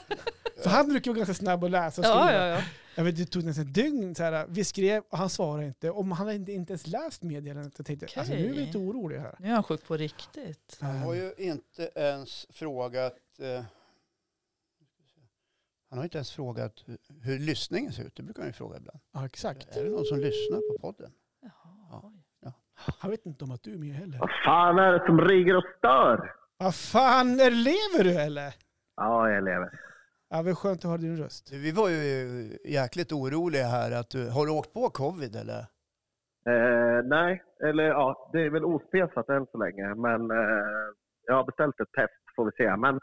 Speaker 1: För han brukar vara ganska snabb att läsa och
Speaker 3: ja,
Speaker 1: skriva.
Speaker 3: ja. ja.
Speaker 1: Jag vet, det tog nästan ett dygn. Så här, vi skrev och han svarade inte. Om han hade inte, inte ens läst meddelandet. Jag tänkte,
Speaker 3: Okej.
Speaker 1: alltså, nu är vi inte oroliga här. Ehm,
Speaker 3: Nu är han sjuk på riktigt.
Speaker 2: Han har ju inte ens frågat... Eh, han har inte ens frågat hur, hur lyssningen ser ut. Det brukar han ju fråga ibland.
Speaker 1: Ja, exakt.
Speaker 2: Är det någon som lyssnar på podden?
Speaker 3: Jaha, oj.
Speaker 1: Han vet inte om att du är med heller.
Speaker 4: Vad fan är det som ringer och stör?
Speaker 1: Vad fan, är- lever du eller?
Speaker 4: Ja, jag lever.
Speaker 1: Ja, vad skönt att höra din röst.
Speaker 2: Du, Vi var ju jäkligt oroliga här. Att du, har du åkt på covid eller?
Speaker 4: Eh, nej, eller ja, det är väl ospesat än så länge. Men eh, jag har beställt ett test, får vi se. Men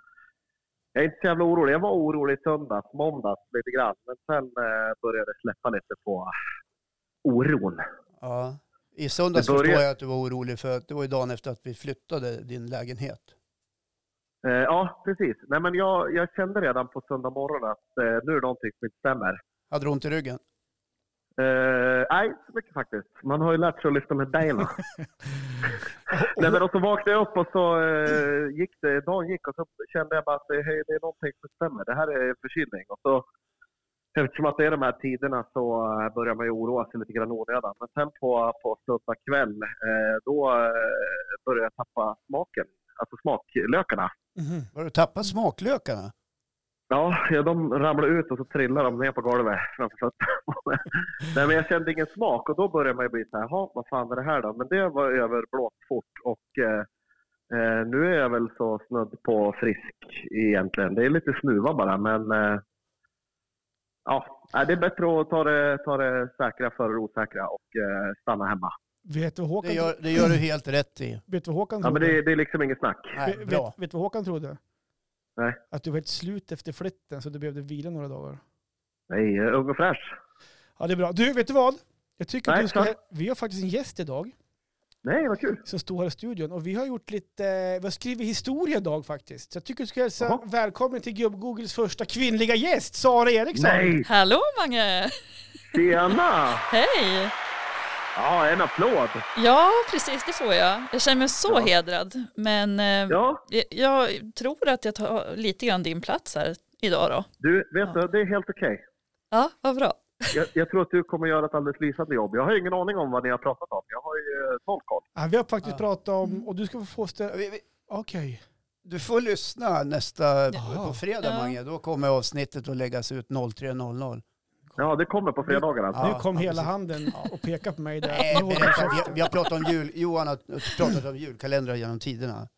Speaker 4: jag är inte så jävla orolig. Jag var orolig söndags, måndags lite grann. Men sen eh, började det släppa lite på oron.
Speaker 2: Ja. I söndags
Speaker 4: Det börjar-
Speaker 2: förstår jag att du var orolig för att det var ju dagen efter att vi flyttade din lägenhet.
Speaker 4: Eh, ja, precis. Nej, men jag, jag kände redan på söndag morgon att eh, nu är det någonting som inte stämmer.
Speaker 2: Hade du ont i ryggen?
Speaker 4: Eh, nej, inte så mycket faktiskt. Man har ju lärt sig att lyfta med dejlarna. nej, men och så vaknade jag upp och så eh, gick det, dagen gick och så kände jag bara att eh, hej, det är någonting som stämmer. Det här är förkylning. Och så, eftersom att det är de här tiderna så eh, börjar man ju oroa sig lite grann onödan. Men sen på, på söndag kväll, eh, då eh, började jag tappa smaken. Alltså smaklökarna.
Speaker 1: Mhm.
Speaker 2: Har du tappat smaklökarna?
Speaker 4: Ja, ja, de ramlade ut och så trillade de ner på golvet framför fötterna. Nej, men jag kände ingen smak och då började man ju bli så här, "Jaha, vad fan är det här då? Men det var överblåst fort och eh, eh, nu är jag väl så snudd på frisk egentligen. Det är lite snuva bara, men eh, ja, nej, det är bättre att ta det, ta det säkra före det osäkra och eh, stanna hemma.
Speaker 1: Vet du vad Håkan,
Speaker 2: Det gör, det gör du helt rätt i.
Speaker 1: vet du vad Håkan
Speaker 4: Ja, men
Speaker 1: trodde?
Speaker 4: det, det är liksom inget snack.
Speaker 2: Nej,
Speaker 1: Vet-
Speaker 2: bra.
Speaker 1: Vet, vet du vad Håkan trodde?
Speaker 4: Nej.
Speaker 1: Att du var helt slut efter flytten så du behövde vila några dagar.
Speaker 4: Nej, eh, ung och fräsch.
Speaker 1: Ja, det är bra. Du, vet du vad? Jag tycker att
Speaker 4: Nej,
Speaker 1: du ska...
Speaker 4: tack.
Speaker 1: Vi har faktiskt en gäst idag
Speaker 4: Nej, vad kul.
Speaker 1: som står här i studion och vi har gjort lite... eh, Vi har skrivit historia idag faktiskt. Så jag tycker du ska hälsa
Speaker 4: Jaha.
Speaker 1: välkommen till Gubb-Googles första kvinnliga gäst, Sara Eriksson.
Speaker 4: Nej,
Speaker 3: Hallå Mange!
Speaker 4: tjena!
Speaker 3: Hej!
Speaker 4: Ja, en applåd.
Speaker 3: Ja, precis det får jag. Jag känner mig så
Speaker 4: Ja.
Speaker 3: hedrad. Men eh,
Speaker 4: Ja.
Speaker 3: jag, jag tror att jag tar lite grann din plats här idag då.
Speaker 4: Du, vet
Speaker 3: Ja.
Speaker 4: du, det är helt okej.
Speaker 3: Ja, vad bra.
Speaker 4: Jag, jag tror att du kommer göra ett alldeles lysande jobb. Jag har ingen aning om vad ni har pratat om. Jag har ju eh, noll koll.
Speaker 1: Ja, vi har faktiskt
Speaker 2: Ja.
Speaker 1: pratat om... Och du ska få ställa...
Speaker 2: Vi, vi,
Speaker 1: Okej.
Speaker 2: du får lyssna nästa
Speaker 1: Ja.
Speaker 2: på fredag
Speaker 3: Ja.
Speaker 2: Mange. Då kommer avsnittet att läggas ut 03.00.
Speaker 4: Ja, det kommer på fredagarna. Alltså.
Speaker 2: Ja,
Speaker 1: nu kom
Speaker 2: ja,
Speaker 1: hela
Speaker 2: precis.
Speaker 1: handen och pekade på mig där.
Speaker 2: Nej,
Speaker 1: Nu håller jag
Speaker 2: berätta.
Speaker 1: käften.
Speaker 2: Eh, Vi, vi har pratat om jul. Johan har pratat om julkalendrar genom tiderna. Men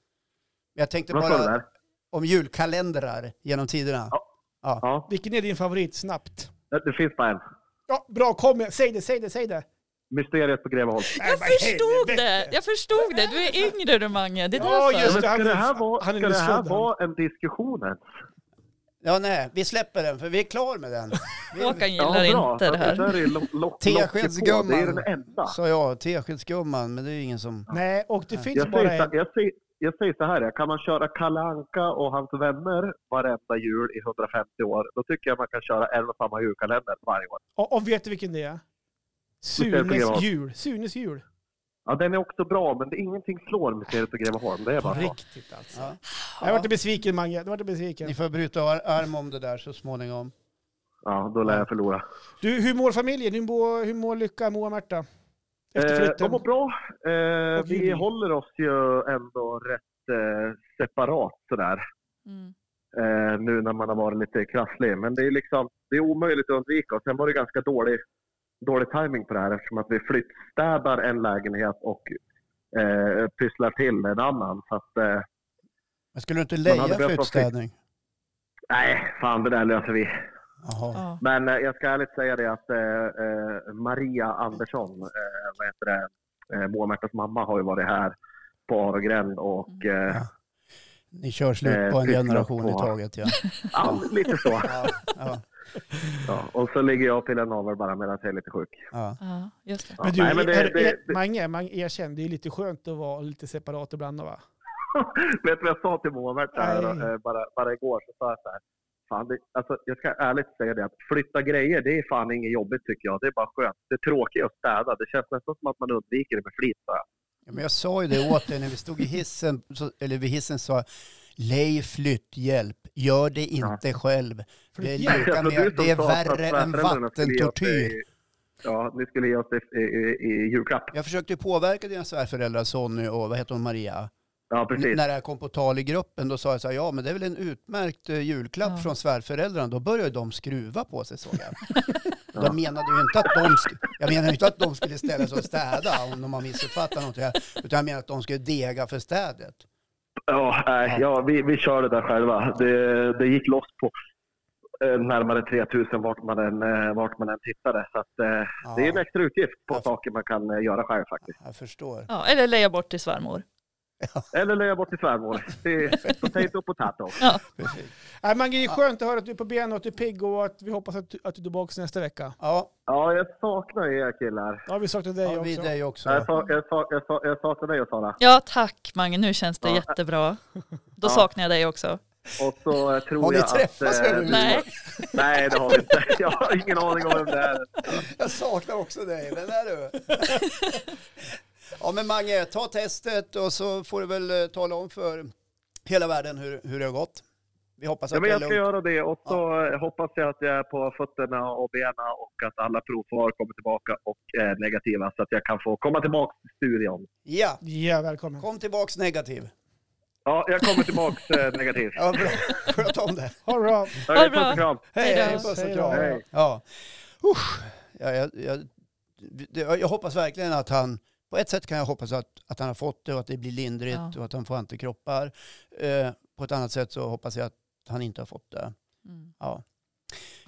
Speaker 2: Jag tänkte
Speaker 4: Vad sa du
Speaker 2: bara
Speaker 4: där?
Speaker 2: om julkalendrar genom tiderna.
Speaker 4: Ja. Ja,
Speaker 1: Vilken är din favorit? Snabbt.
Speaker 4: det finns bara en.
Speaker 1: Ja, bra. Kom igen. Säg det, säg det, säg det.
Speaker 4: Mysteriet på Greveholm.
Speaker 3: Jag förstod det! Jag förstod det. Du är yngre du Mange. Det är
Speaker 1: Ja,
Speaker 3: därför.
Speaker 1: just
Speaker 4: Men ska
Speaker 1: han är-
Speaker 4: det här vara,
Speaker 1: han är
Speaker 4: ska det här
Speaker 1: nyfödd, han.
Speaker 4: vara en diskussion ens?
Speaker 2: Ja, nej, vi släpper den för vi är klar med den.
Speaker 3: Håkan gillar inte det
Speaker 4: Alltså,
Speaker 3: här.
Speaker 4: där är lo- lo- locket på.
Speaker 2: Teskedsgumman.
Speaker 4: Det är den enda.
Speaker 2: Sa jag, teskedsgumman, men det är ju ingen som...
Speaker 1: Nej, och det finns
Speaker 4: Jag säger,
Speaker 1: bara en.
Speaker 4: så, jag, säger, jag säger så här, kan man köra Kalle Anka och hans vänner varenda jul i 150 år, då tycker jag man kan köra en och samma julkalender varje år.
Speaker 1: Och, och vet du vilken det är?
Speaker 4: Mysteriet på
Speaker 1: Sunes
Speaker 4: Greveholm.
Speaker 1: jul. Sunes jul.
Speaker 4: Ja, den är också bra, men det är ingenting slår Mysteriet på Greveholm. Det är bara så.
Speaker 1: riktigt alltså.
Speaker 2: Ja.
Speaker 1: Jag vart besviken Mange. Jag vart besviken.
Speaker 2: Ni får bryta ar- arm om det där så småningom.
Speaker 4: Ja, då lär jag förlora.
Speaker 1: Du, hur mår familjen? Hur mår, hur mår Lycka, Moa, Märta? Efter
Speaker 4: Eh, de
Speaker 1: flytten?
Speaker 4: mår bra. Eh,
Speaker 1: Och
Speaker 4: vi
Speaker 1: Jimmy.
Speaker 4: håller oss ju ändå rätt eh, separat sådär.
Speaker 3: Mm.
Speaker 4: Eh, nu när man har varit lite krasslig. Men det är, liksom, det är omöjligt att undvika. Och sen var det ganska dålig, dålig timing på det här eftersom att vi flyttstädar en lägenhet och eh, pysslar till en annan. Så att, eh,
Speaker 2: Men skulle du inte
Speaker 4: hade
Speaker 2: leja
Speaker 4: behövt vara
Speaker 2: flyttstädning?
Speaker 4: nej, fan det där löser vi.
Speaker 2: Jaha.
Speaker 3: Ja.
Speaker 4: Men eh, jag ska ärligt säga det att eh, eh, Maria Andersson, eh, vad heter det, eh, Moa Märtas mamma har ju varit här på Arogren och eh,
Speaker 2: Ni kör slut på
Speaker 4: Eh,
Speaker 2: en
Speaker 4: pysslat
Speaker 2: generation i
Speaker 4: på.
Speaker 2: taget ja.
Speaker 4: ja, lite så.
Speaker 2: ja, ja,
Speaker 4: Ja, och så ligger jag till en avel bara medan jag är lite sjuk.
Speaker 2: ja.
Speaker 3: ja, just det.
Speaker 4: Ja,
Speaker 1: Men du,
Speaker 4: nej, men det,
Speaker 1: är,
Speaker 4: det,
Speaker 1: är, Mange, Mange, erkänn, det är lite skönt att vara lite separat ibland va?
Speaker 4: Vet du vad jag sa till Moa
Speaker 1: Nej.
Speaker 4: här eh, bara, bara igår? Så sa jag så här. Fan, det, alltså, jag ska ärligt säga det att flytta grejer det är fan inget jobbigt tycker jag. Det är bara skönt. Det är tråkigt att städa. Det känns nästan som att man undviker det med flit. sa jag.
Speaker 2: Ja, Men jag sa ju det åt dig när vi stod i hissen, så, eller vid hissen sa jag, lej flytthjälp, gör det inte själv. Det är,
Speaker 1: Flytthjälp?
Speaker 2: lika
Speaker 4: Alltså, du
Speaker 2: med,
Speaker 4: som
Speaker 2: det är
Speaker 4: sa att
Speaker 2: värre än
Speaker 4: svärföräldrarna skulle ge oss det
Speaker 2: vattentortyr.
Speaker 4: i- Ja, ni skulle ge oss det i, i, i julklapp.
Speaker 2: Jag försökte ju påverka dina svärföräldrar Sonny och vad heter hon, Maria.
Speaker 4: Ja,
Speaker 2: N-
Speaker 4: precis.
Speaker 2: när det här kom på tal i gruppen då sa jag så här, ja men det är väl en utmärkt eh, julklapp
Speaker 3: Ja.
Speaker 2: från svärföräldrarna. Då började de skruva på sig såg jag.
Speaker 4: Ja.
Speaker 2: Jag menade ju inte att de, sk- jag menade ju inte att de skulle ställa sig och städa om de har missuppfattat någonting. här, Utan jag menade att de skulle dega för städet.
Speaker 4: Ja, nej, ja vi, vi kör det där själva. Det, det gick loss på eh, närmare 3000 vart man än, eh, vart man än tittade. Så att, eh,
Speaker 2: Ja,
Speaker 4: det är en extra utgift på
Speaker 2: Ja.
Speaker 4: saker man kan eh, göra själv faktiskt.
Speaker 2: jag förstår.
Speaker 3: Ja, eller leja bort till svärmor.
Speaker 4: Eller lägga bort till svärmor. Det är potato potato.
Speaker 3: Ja,
Speaker 2: Precis.
Speaker 1: Nej, äh, Mange, det är skönt att höra att du är på benen och att du är pigg och att vi hoppas att du, att du är tillbaka nästa vecka.
Speaker 2: Ja,
Speaker 4: Ja, jag saknar er killar.
Speaker 1: Ja, vi saknar dig
Speaker 2: ja vi
Speaker 1: också.
Speaker 2: dig
Speaker 4: Jag,
Speaker 2: också.
Speaker 4: sa, jag, sa, jag, sa, jag saknar dig och Sara.
Speaker 3: ja tack Mange, nu känns det
Speaker 4: Ja.
Speaker 3: jättebra. Då
Speaker 4: Ja. Mm.
Speaker 3: saknar jag dig också.
Speaker 4: Och så eh, tror
Speaker 2: Har ni
Speaker 4: jag
Speaker 2: träffats
Speaker 4: att... eh,
Speaker 2: överhuvudtaget?
Speaker 3: Nej,
Speaker 4: Nej, det har vi inte. Jag har ingen aning om vem det är.
Speaker 2: Jag saknar också dig, vem är du? Ja men Mange, ta testet och så får du väl eh, tala om för hela världen hur, hur det har gått. Vi hoppas
Speaker 4: Ja,
Speaker 2: att det är
Speaker 4: men jag ska
Speaker 2: lugnt.
Speaker 4: göra det och så eh, hoppas jag att jag är på fötterna och benen och att alla provsvar kommer tillbaka och är negativa så att jag kan få komma tillbaka till studion.
Speaker 2: Ja,
Speaker 1: Ja, välkommen.
Speaker 2: kom tillbaks negativ.
Speaker 4: Ja, jag kommer tillbaka eh, negativt.
Speaker 2: Ja, bra. Sköt om det.
Speaker 1: Ha det bra.
Speaker 3: Ha
Speaker 4: Ja,
Speaker 3: det bra.
Speaker 4: Puss och kram.
Speaker 2: Hej,
Speaker 3: Hej då.
Speaker 2: hej, puss och
Speaker 1: Hej
Speaker 2: kram.
Speaker 1: då.
Speaker 4: Hej.
Speaker 2: Ja, usch. Ja, jag, jag, det- jag hoppas verkligen att han, på ett sätt kan jag hoppas att, att han har fått det och att det blir lindrigt
Speaker 3: Ja.
Speaker 2: och att han får antikroppar. Eh, på ett annat sätt så hoppas jag att han inte har fått det.
Speaker 3: Mm.
Speaker 2: Ja.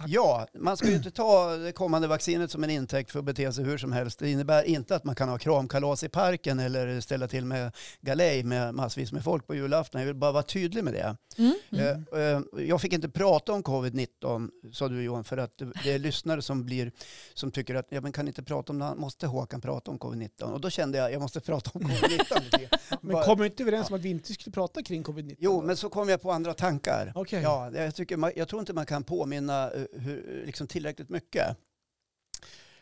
Speaker 2: ja, man ska ju inte ta det kommande vaccinet som en intäkt för att bete sig hur som helst. Det innebär inte att man kan ha kramkalas i parken eller ställa till med galej med massvis med folk på julafton. Jag vill bara vara tydlig med det.
Speaker 3: Mm.
Speaker 2: Eh, eh, Jag fick inte prata om covid-19, sa du Johan, för att det- det är lyssnare som, blir, som tycker att ja, men kan inte prata om det, här? måste Håkan prata om covid-19? Och då kände jag jag måste prata om covid-19. lite grann.
Speaker 1: Men
Speaker 2: Bara-
Speaker 1: kom inte överens om att vi inte skulle prata kring covid-19?
Speaker 2: Jo, men så kom jag på andra tankar.
Speaker 1: Okej.
Speaker 2: Ja, jag, tycker man, jag tror inte man kan påminna eh, hur, liksom tillräckligt mycket.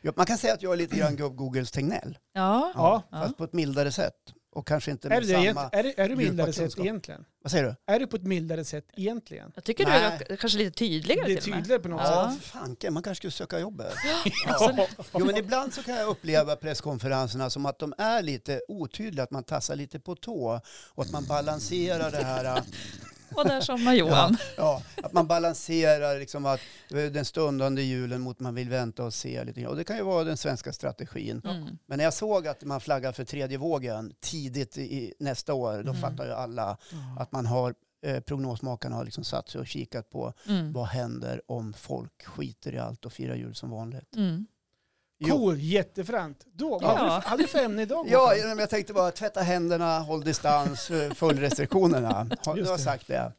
Speaker 2: Ja, Man kan säga att jag är lite grann gubb-Googles Tegnell,
Speaker 3: Ja.
Speaker 1: Ja.
Speaker 2: fast på ett mildare sätt. Och kanske
Speaker 1: Är
Speaker 2: inte med
Speaker 1: du, det
Speaker 2: samma...
Speaker 1: egent- är, du- är du
Speaker 2: djupa
Speaker 1: mildare sätt
Speaker 2: kunskap.
Speaker 1: egentligen?
Speaker 2: Vad säger du?
Speaker 1: Är du på ett mildare sätt egentligen?
Speaker 3: Jag tycker du
Speaker 2: Nej.
Speaker 3: är kanske lite tydligare
Speaker 1: Det är
Speaker 3: till och med.
Speaker 1: tydligare på något
Speaker 3: Ja.
Speaker 1: sätt.
Speaker 2: Fanken, man kanske skulle söka jobb här.
Speaker 1: Ja.
Speaker 2: Jo, men ibland så kan jag uppleva presskonferenserna som att de är lite otydliga, att man tassar lite på tå och att man balanserar det här.
Speaker 3: Och där somnar Johan.
Speaker 2: Ja, att man balanserar liksom att eh, den stundande julen mot man vill vänta och se lite grann. Och det kan ju vara den svenska strategin.
Speaker 3: Mm.
Speaker 2: Men när jag såg att man flaggar för tredje vågen tidigt i nästa år,
Speaker 1: Mm.
Speaker 2: då fattar ju alla att man har eh, prognosmakarna har liksom satt sig och kikat på
Speaker 3: Mm.
Speaker 2: vad händer om folk skiter i allt och firar jul som vanligt.
Speaker 3: Mm.
Speaker 2: Jo.
Speaker 1: Cool, jättefränt. Då,
Speaker 3: Ja.
Speaker 1: vad hade, du för- hade du för ämne idag?
Speaker 2: Ja,
Speaker 1: Håkan?
Speaker 2: men jag tänkte bara tvätta händerna, håll distans, eh, följ restriktionerna. Har, nu
Speaker 1: Just
Speaker 2: har jag
Speaker 1: det.
Speaker 2: sagt det.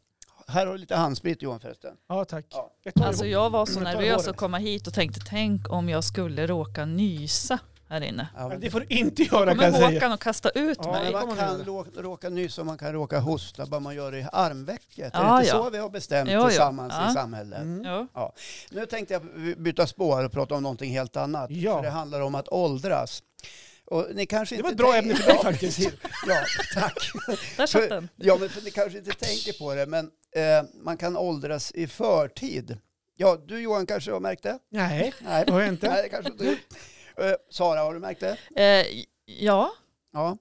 Speaker 2: Här har du lite handsprit Johan förresten.
Speaker 1: ja tack.
Speaker 2: Ja.
Speaker 1: Jag tar
Speaker 3: Alltså
Speaker 1: det.
Speaker 3: jag var så
Speaker 1: Men ta
Speaker 3: nervös
Speaker 1: håret.
Speaker 3: att komma hit och tänkte tänk om jag skulle råka nysa här inne.
Speaker 2: Ja,
Speaker 1: Men
Speaker 2: men
Speaker 1: det får du inte göra kan
Speaker 3: Kommer
Speaker 1: jag säga.
Speaker 3: Håkan och kasta ut
Speaker 1: Ja, det
Speaker 3: mig?
Speaker 1: var-
Speaker 2: man kan råka, råka nysa och man kan råka hosta, bara man gör det i armvecket. är
Speaker 3: Ja,
Speaker 2: det inte
Speaker 3: ja.
Speaker 2: så vi har bestämt
Speaker 3: Ja, ja.
Speaker 2: tillsammans
Speaker 3: Ja.
Speaker 2: i samhället?
Speaker 1: Mm.
Speaker 3: Ja.
Speaker 2: Nu tänkte jag byta spår och prata om någonting helt annat.
Speaker 1: Ja.
Speaker 2: För det handlar om att åldras. Och ni kanske
Speaker 1: Det
Speaker 2: inte
Speaker 1: var ett bra
Speaker 2: tänker-
Speaker 1: ämne för dig
Speaker 2: Ja,
Speaker 1: faktiskt.
Speaker 2: Ja, tack. För-
Speaker 3: Där satt den.
Speaker 2: Ja, men för ni kanske inte tänker på det, men eh, man kan åldras i förtid. Ja, du Johan kanske har märkt det?
Speaker 1: Nej,
Speaker 2: Nej, Eh,
Speaker 1: det har jag inte.
Speaker 2: Nej det kanske inte du. Eh, Sara, har du märkt det?
Speaker 3: Eh, ja,
Speaker 2: Ja.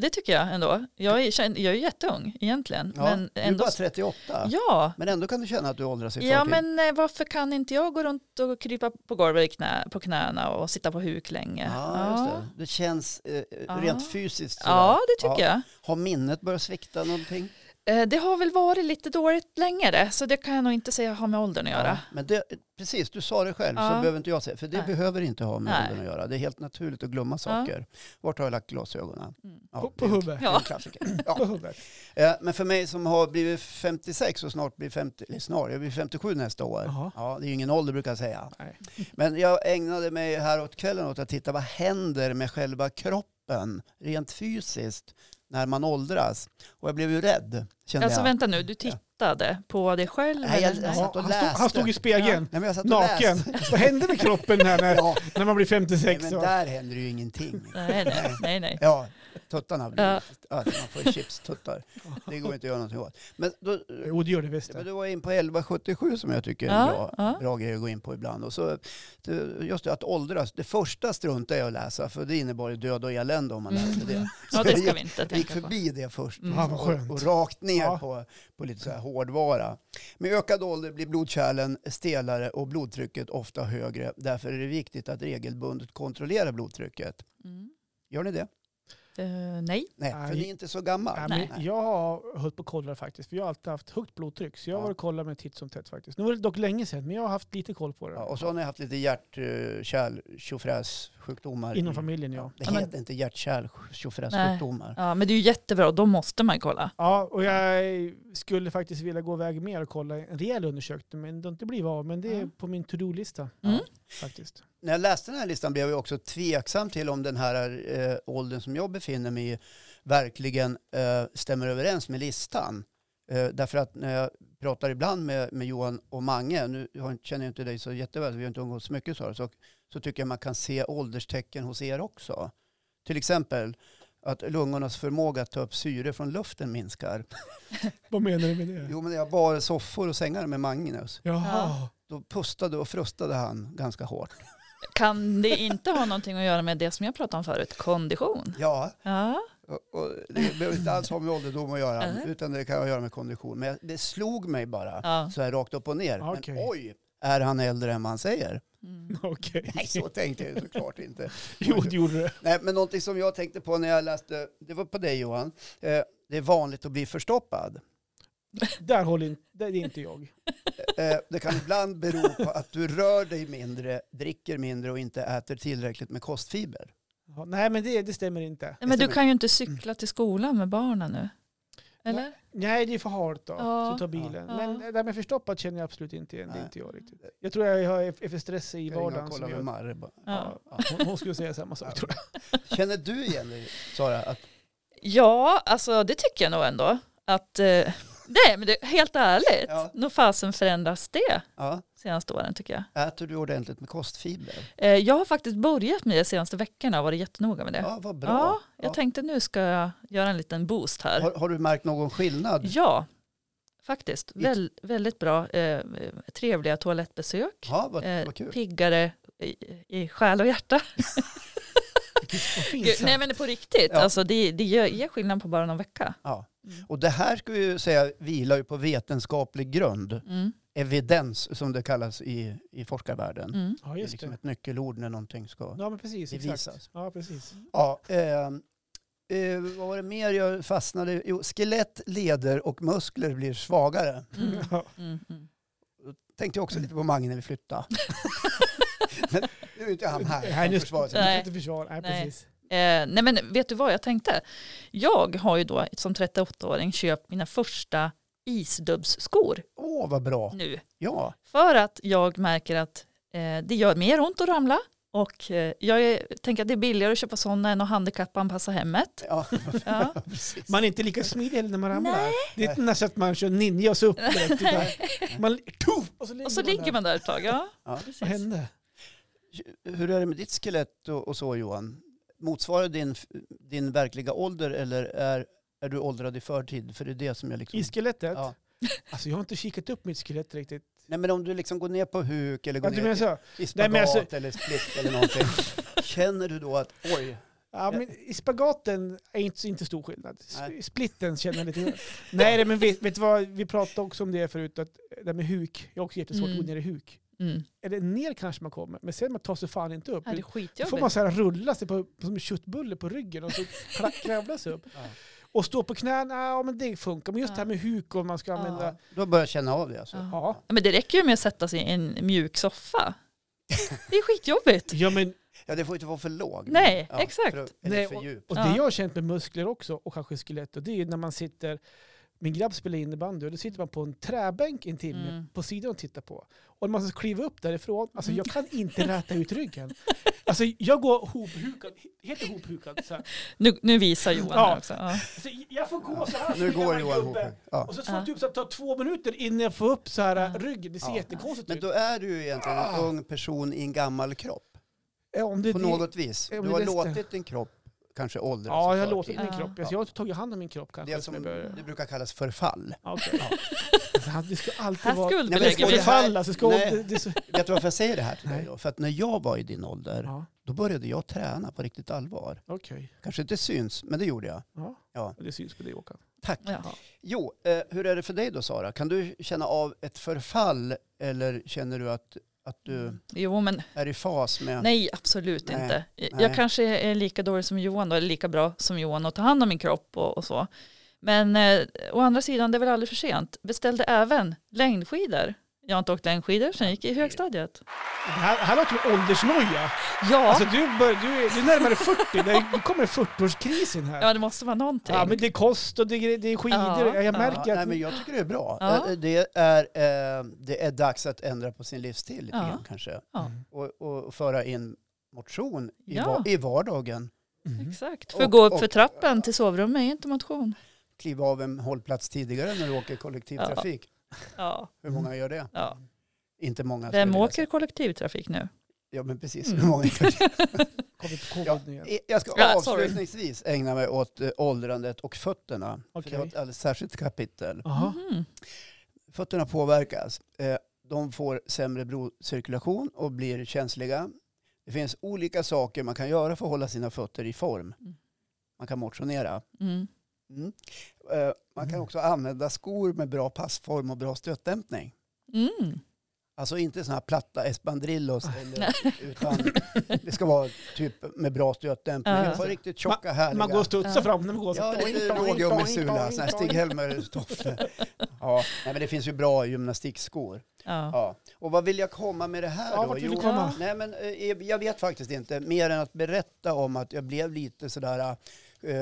Speaker 3: det tycker jag ändå. Jag är, känn- jag är jätteung egentligen.
Speaker 2: Ja,
Speaker 3: men
Speaker 2: du är
Speaker 3: ändå,
Speaker 2: bara 38.
Speaker 3: ja,
Speaker 2: Men ändå kan du känna att du åldras i
Speaker 3: ja
Speaker 2: förtid.
Speaker 3: men eh, varför kan inte jag gå runt och krypa på golvet i knä, på knäna och sitta på huk länge?
Speaker 2: Ja, just det. Det känns eh, rent fysiskt sådär.
Speaker 3: ja det tycker jag.
Speaker 2: Har minnet börjat svikta någonting?
Speaker 3: Eh, Det har väl varit lite dåligt längre, så det kan jag nog inte säga har med åldern att göra.
Speaker 2: Men det, precis, du sa det själv, så
Speaker 3: Ja.
Speaker 2: behöver inte jag säga. För det
Speaker 3: Nej.
Speaker 2: behöver inte ha med
Speaker 3: Nej.
Speaker 2: åldern att göra. Det är helt naturligt att glömma saker. Vart har jag lagt glasögonen?
Speaker 3: Mm.
Speaker 2: Ja,
Speaker 1: På,
Speaker 2: det
Speaker 1: på
Speaker 2: är en-
Speaker 1: huvudet.
Speaker 2: det är en klassiker.
Speaker 1: På
Speaker 2: Ja.
Speaker 1: huvudet.
Speaker 2: Eh, Men för mig som har blivit 56 och snart blir 50, eller snart, jag blir 57 nästa år.
Speaker 1: Jaha.
Speaker 2: Ja, det är ju ingen ålder brukar jag säga.
Speaker 1: Nej.
Speaker 2: Men jag ägnade mig här åt kvällen åt att titta vad händer med själva kroppen rent fysiskt när man åldras. Och jag blev ju rädd, kände
Speaker 3: Alltså
Speaker 2: jag.
Speaker 3: vänta nu, du tittade på dig själv?
Speaker 2: Nej, jag-
Speaker 3: eller?
Speaker 2: jag satt
Speaker 3: Nej.
Speaker 1: Ja,
Speaker 2: och
Speaker 1: han, stod,
Speaker 2: läste.
Speaker 1: han stod i spegeln,
Speaker 2: Nej, men jag satt och
Speaker 1: naken.
Speaker 2: läste.
Speaker 1: Vad hände med kroppen här när,
Speaker 2: Ja,
Speaker 1: när man blir
Speaker 2: nej,
Speaker 1: 56
Speaker 2: men
Speaker 1: år?
Speaker 2: där händer ju ingenting.
Speaker 3: Nej, nej, nej, nej.
Speaker 2: Ja, tuttarna blir...
Speaker 3: Ja.
Speaker 2: Ja. man får chips-tuttar. Det går inte att göra någonting åt. Men då,
Speaker 1: Jo, det gör det visst.
Speaker 2: Men du var in på 1177 som jag tycker är en
Speaker 3: Ja,
Speaker 2: bra,
Speaker 3: ja.
Speaker 2: bra grej att gå in på ibland. Och så, det- just det, att åldras. Det första struntar jag i att läsa för det innebar ju död och elände om man läste det.
Speaker 3: Ja,
Speaker 2: Så
Speaker 3: det ska
Speaker 2: jag
Speaker 3: vi inte
Speaker 2: gick
Speaker 3: tänka Mm. på.
Speaker 2: förbi det först
Speaker 3: Mm.
Speaker 1: Ja, vad skönt.
Speaker 2: och, och rakt ner
Speaker 1: Ja.
Speaker 2: på, på lite så här hårdvara. Med ökad ålder blir blodkärlen stelare och blodtrycket ofta högre. Därför är det viktigt att regelbundet kontrollera blodtrycket.
Speaker 3: Mm.
Speaker 2: Gör ni det?
Speaker 3: Eh, nej.
Speaker 2: Nej,
Speaker 1: Nej.
Speaker 2: för ni är inte så gammal.
Speaker 1: Nej,
Speaker 3: Nej.
Speaker 1: men jag har hållit på och kollat faktiskt, för jag har alltid haft högt blodtryck. Så jag har
Speaker 2: Ja.
Speaker 1: varit och kollat mig titt som tätt faktiskt. Nu var det dock länge sedan, men jag har haft lite koll på det.
Speaker 2: Ja, och så har ni haft lite hjärt-kärl-tjofräs-sjukdomar.
Speaker 3: Mm.
Speaker 1: Inom familjen ja.
Speaker 2: Det
Speaker 3: Ja, men-
Speaker 2: heter inte hjärt-kärl-tjofräs-sjukdomar.
Speaker 3: Ja, men det är ju jättebra, de måste man ju kolla.
Speaker 1: Ja, och jag skulle faktiskt vilja gå iväg mer och kolla en rejäl undersökning, men det har inte blivit av. Men det är
Speaker 3: Mm.
Speaker 1: på min to-do-lista
Speaker 3: Mm.
Speaker 1: faktiskt.
Speaker 2: När jag läste den här listan blev jag också tveksam till om den här eh, åldern som jag befinner mig i verkligen eh, stämmer överens med listan. Eh, därför att när jag pratar ibland med, med Johan och Mange, nu har, jag- känner jag inte dig så jätteväl, vi har inte umgåtts så mycket så, så, så tycker jag man kan se ålderstecken hos er också. Till exempel att lungornas förmåga att ta upp syre från luften minskar.
Speaker 1: Vad menar du med det?
Speaker 2: Jo, men jag bar soffor och sängar med Magnus.
Speaker 1: Jaha.
Speaker 2: då pustade och frustade han ganska hårt.
Speaker 3: Kan det inte ha någonting att göra med det som jag pratade om förut, kondition?
Speaker 2: Ja,
Speaker 3: Ja,
Speaker 2: och, och det behöver inte alls ha med ålderdom att göra,
Speaker 3: Nej.
Speaker 2: utan det kan ha att göra med kondition. Men jag- det slog mig bara,
Speaker 3: ja.
Speaker 2: så här rakt upp och ner.
Speaker 1: Okej.
Speaker 2: Men oj, är han äldre än man säger?
Speaker 3: Mm.
Speaker 1: Okej.
Speaker 2: Nej, så tänkte jag ju såklart inte.
Speaker 1: Jo, det gjorde det.
Speaker 2: Nej, men någonting som jag tänkte på när jag läste, det var på dig Johan, eh, det är vanligt att bli förstoppad.
Speaker 1: Där håller inte, det är inte jag.
Speaker 2: Eh, Det kan ibland bero på att du rör dig mindre, dricker mindre och inte äter tillräckligt med kostfiber.
Speaker 1: Ja, nej, men det, det stämmer inte.
Speaker 3: Nej, Men du kan ju inte cykla till skolan med barnen nu. Eller?
Speaker 1: Nej, det är för halt då.
Speaker 3: Ja.
Speaker 1: Så ta bilen.
Speaker 3: Ja.
Speaker 1: Men det där med förstoppat känner jag absolut inte igen. Det är
Speaker 2: Nej.
Speaker 1: inte jag riktigt. Jag tror jag har- är för stressig i
Speaker 2: Jag ringer
Speaker 1: vardagen.
Speaker 2: och
Speaker 1: som
Speaker 2: kollar
Speaker 1: gör-
Speaker 2: med Marre bara.
Speaker 3: Ja.
Speaker 1: Ja, hon, hon skulle säga samma sak tror jag.
Speaker 2: Känner du igen dig, Sara? Att,
Speaker 3: Ja, alltså det tycker jag nog ändå. Att, eh, nej, men det, helt ärligt,
Speaker 2: Ja.
Speaker 3: nog fasen förändras det
Speaker 2: ja,
Speaker 3: senaste åren tycker jag.
Speaker 2: äter du ordentligt med kostfiber?
Speaker 3: Eh, jag har faktiskt börjat med det senaste veckorna och varit jättenoga med det.
Speaker 2: Ja, vad bra.
Speaker 3: Ja, jag
Speaker 2: Ja.
Speaker 3: tänkte nu ska jag göra en liten boost här.
Speaker 2: Har, har du märkt någon skillnad?
Speaker 3: Ja, faktiskt.
Speaker 2: Lite-
Speaker 3: Väl, väldigt bra, eh, trevliga toalettbesök.
Speaker 2: Ja, vad,
Speaker 3: Eh,
Speaker 2: vad kul.
Speaker 3: piggare i, i själ och hjärta.
Speaker 1: Vad fint
Speaker 3: Gud,
Speaker 1: sagt.
Speaker 3: nej men det är på riktigt,
Speaker 2: Ja.
Speaker 3: alltså, det, det gör, ger skillnad på bara någon vecka.
Speaker 2: Ja.
Speaker 3: Mm.
Speaker 2: Och det här ska vi ju säga vilar ju på vetenskaplig grund.
Speaker 3: Mm.
Speaker 2: Evidens som det kallas i, i forskarvärlden.
Speaker 3: Mm.
Speaker 1: Ja,
Speaker 2: Det är
Speaker 1: just
Speaker 2: liksom
Speaker 1: det. Mm.
Speaker 2: ett nyckelord när någonting ska
Speaker 1: Ja, men precis. Exakt.
Speaker 2: bevisas.
Speaker 1: Ja, precis.
Speaker 2: Ja, ehm, eh, vad var det mer jag fastnade Jo, skelett, leder och muskler blir svagare.
Speaker 3: Mm.
Speaker 1: Ja.
Speaker 3: Mm. Mm.
Speaker 2: Tänkte jag också lite på Mange när vi flyttade. Men nu är inte han här.
Speaker 1: Nej,
Speaker 2: Han
Speaker 1: nu
Speaker 2: försvarar sig.
Speaker 1: nej.
Speaker 3: Nej.
Speaker 1: inte försvara. Nej,
Speaker 3: Nej.
Speaker 1: precis.
Speaker 3: Eh, nej men vet du vad jag tänkte? Jag har ju då som 38-åring köpt mina första isdubbsskor
Speaker 2: Åh, vad bra.
Speaker 3: nu.
Speaker 2: Ja,
Speaker 3: För att jag märker att eh, det gör mer ont att ramla och eh, jag är, tänker att det är billigare att köpa sådana än att handikappanpassa hemmet.
Speaker 2: ja
Speaker 3: Ja.
Speaker 2: precis.
Speaker 1: Man är inte lika smidig heller när man ramlar.
Speaker 3: Nej.
Speaker 1: Det är inte nästan att man kör ninja och så upp direkt. utan Man, tuff, och så ligger
Speaker 3: Och så ligger
Speaker 1: där.
Speaker 3: man där ett tag. Ja,
Speaker 2: Ja.
Speaker 3: precis.
Speaker 1: Vad hände?
Speaker 2: Hur är det med ditt skelett och, och så Johan? Motsvarar din, f- din verkliga ålder eller är, är du åldrad i förtid? För det är det som jag liksom...
Speaker 1: I skelettet?
Speaker 2: Ja.
Speaker 1: Alltså jag har inte kikat upp mitt skelett riktigt.
Speaker 2: Nej men om du liksom går ner på huk eller går
Speaker 1: Att du menar
Speaker 2: ner
Speaker 1: så?
Speaker 2: i spagat
Speaker 1: Nej, men alltså-
Speaker 2: eller split eller någonting. Känner du då att oj,
Speaker 1: Ja, men I spagaten är inte, inte stor skillnad. S-
Speaker 2: Nej.
Speaker 1: Splitten känner jag lite Nej, det- men vet, vet du vad? Vi pratade också om det förut, att det här med huk. Jag har också jättesvårt att gå
Speaker 3: Mm.
Speaker 1: ner i huk.
Speaker 3: Mm.
Speaker 1: Eller ner kanske man kommer, men sen man tar sig fan inte upp.
Speaker 3: Ja, det är
Speaker 1: Då får
Speaker 3: skitjobbigt.
Speaker 1: man så här rulla sig på, som en köttbulle på ryggen och så kla- kravla sig upp.
Speaker 2: Ja.
Speaker 1: Och stå på knäna, ja men det funkar. Men just
Speaker 3: Ja.
Speaker 1: det här med huk och man ska använda...
Speaker 3: Ja.
Speaker 2: Då börjar jag känna av det alltså.
Speaker 3: Ja.
Speaker 1: Ja.
Speaker 3: Ja, men det räcker ju med att sätta sig i en mjuk soffa. Det är skitjobbigt.
Speaker 1: ja men,
Speaker 2: Ja, det får inte vara för låg.
Speaker 3: Nej,
Speaker 2: ja,
Speaker 3: exakt.
Speaker 2: För, eller
Speaker 1: Nej,
Speaker 2: för djup.
Speaker 1: och
Speaker 3: Ja.
Speaker 1: det jag har känt med muskler också, och kanske skelett, och det är ju när man sitter... Min grabb spelar innebandy och då sitter man på en träbänk en timme
Speaker 3: Mm.
Speaker 1: på sidan och tittar på. Och när man ska kliva upp därifrån, alltså jag kan inte räta ut ryggen. Alltså jag går hophukad, helt hophukad så här.
Speaker 3: Nu, nu visar Johan
Speaker 1: Ja.
Speaker 3: här också. Ja.
Speaker 1: Så jag får gå så här.
Speaker 2: Nu
Speaker 1: som
Speaker 2: går
Speaker 1: en
Speaker 2: Johan
Speaker 1: gammal
Speaker 2: ihop.
Speaker 1: gubbe.
Speaker 2: Ja.
Speaker 1: Och så
Speaker 3: Ja.
Speaker 1: tror jag att det tar två minuter innan jag får upp så här
Speaker 3: Ja.
Speaker 1: ryggen. Det ser
Speaker 2: Ja.
Speaker 1: jättekonstigt
Speaker 2: Men
Speaker 1: ut.
Speaker 2: då är du ju egentligen en ung person i en gammal kropp.
Speaker 1: Ja, Eh, om det,
Speaker 2: På
Speaker 1: det-
Speaker 2: något vis.
Speaker 1: Ja, men
Speaker 2: Du har
Speaker 1: det är det.
Speaker 2: låtit din kropp kanske åldras.
Speaker 1: Ja, jag har
Speaker 2: i förtid.
Speaker 1: låtit min
Speaker 3: Ja.
Speaker 1: kropp. Alltså, jag har inte tagit hand om min kropp kanske.
Speaker 2: Det
Speaker 1: som
Speaker 2: som
Speaker 1: jag började.
Speaker 2: det brukar kallas förfall.
Speaker 1: Ja, okej. alltså, han- det ska alltid
Speaker 3: Här
Speaker 1: vara...
Speaker 2: Nej,
Speaker 3: skuldbelägger
Speaker 2: men
Speaker 1: Det
Speaker 3: vi.
Speaker 1: ska falla, så ska
Speaker 2: Nej.
Speaker 1: det, det är så...
Speaker 2: Vet du varför jag säger det här till dig
Speaker 1: Nej.
Speaker 2: då? För att när jag var i din ålder,
Speaker 1: Ja,
Speaker 2: då började jag träna på riktigt allvar.
Speaker 1: okej.
Speaker 2: Kanske inte syns, men det gjorde jag.
Speaker 1: Ja.
Speaker 2: Ja.
Speaker 1: Det syns på dig Håkan.
Speaker 2: Tack.
Speaker 3: Ja.
Speaker 2: Jo, eh, hur är det för dig då Sara? Kan du känna av ett förfall eller känner du att, att du
Speaker 1: Mm.
Speaker 3: Jo, men
Speaker 2: är i fas med...
Speaker 3: nej, absolut
Speaker 2: Nej.
Speaker 3: inte. Jag
Speaker 2: Nej.
Speaker 3: kanske är lika dålig som Johan då, eller lika bra som Johan och ta hand om min kropp och, och så. Men eh, å andra sidan, det är väl aldrig för sent. Beställde även längdskidor. Jag har inte åkt längdskidor sen jag gick i högstadiet.
Speaker 1: Det här, här låter som åldersnoja.
Speaker 3: Ja,
Speaker 1: Alltså, du, bör, du, är, du är närmare 40. Det är- Nu kommer 40-årskrisen här. Ja,
Speaker 3: ja det måste vara någonting.
Speaker 1: men det är kost och det är, det är skidor.
Speaker 3: Ja.
Speaker 1: Ja, jag
Speaker 3: Ja.
Speaker 1: märker
Speaker 2: Ja,
Speaker 1: att...
Speaker 2: nej, men jag tycker det är bra.
Speaker 3: Ja.
Speaker 2: Eh, Det, är, eh, det är dags att ändra på sin livsstil lite
Speaker 3: Ja.
Speaker 2: grann kanske.
Speaker 3: Ja.
Speaker 2: Och, och föra in motion i,
Speaker 3: Ja.
Speaker 2: va- i vardagen. Mm.
Speaker 1: Mhm.
Speaker 3: Exakt, för
Speaker 2: Och-
Speaker 3: gå upp för
Speaker 2: och-
Speaker 3: trappen till sovrummet är inte motion.
Speaker 2: Kliva av en hållplats tidigare när du åker kollektivtrafik.
Speaker 3: Ja,
Speaker 2: Hur många gör det?
Speaker 3: ja.
Speaker 2: Inte många. skulle jag
Speaker 3: Vem
Speaker 2: vilja
Speaker 3: åker
Speaker 2: säga.
Speaker 3: kollektivtrafik nu?
Speaker 2: Ja, men precis.
Speaker 1: Mm.
Speaker 2: Hur många gör det?
Speaker 1: Covid, covid
Speaker 2: Ja.
Speaker 1: nu igen.
Speaker 2: Jag ska
Speaker 3: Ja, sorry.
Speaker 2: avslutningsvis ägna mig åt eh, åldrandet och fötterna. För
Speaker 1: Okej.
Speaker 2: det har ett alldeles särskilt kapitel.
Speaker 1: Jaha.
Speaker 3: Mhm.
Speaker 2: Fötterna påverkas. Eh, De får sämre blodcirkulation och blir känsliga. Det finns olika saker man kan göra för att hålla sina fötter i form.
Speaker 3: Mm.
Speaker 2: Man kan motionera.
Speaker 3: Mm.
Speaker 2: Mm. Eh, Man kan
Speaker 1: Mm.
Speaker 2: också använda skor med bra passform och bra stötdämpning.
Speaker 3: Mm.
Speaker 2: Alltså inte sådana här platta espadrillos, eller,
Speaker 3: Nej.
Speaker 2: utan det ska vara typ med bra stötdämpning.
Speaker 3: Ja.
Speaker 2: Det får riktigt tjocka, härliga.
Speaker 1: Man går och studsar
Speaker 3: Ja.
Speaker 1: fram när man går. Så.
Speaker 2: Ja, lite rågummisula, sån här Stig-Helmer-tofflor. Ja, nej, men det finns ju bra gymnastikskor.
Speaker 3: Ja.
Speaker 2: Ja. Och vad vill jag komma med det här
Speaker 1: Ja,
Speaker 2: då?
Speaker 1: vart vill du
Speaker 2: Jo,
Speaker 1: komma?
Speaker 2: nej, men, eh, jag vet faktiskt inte, mer än att berätta om att jag blev lite sådär, eh,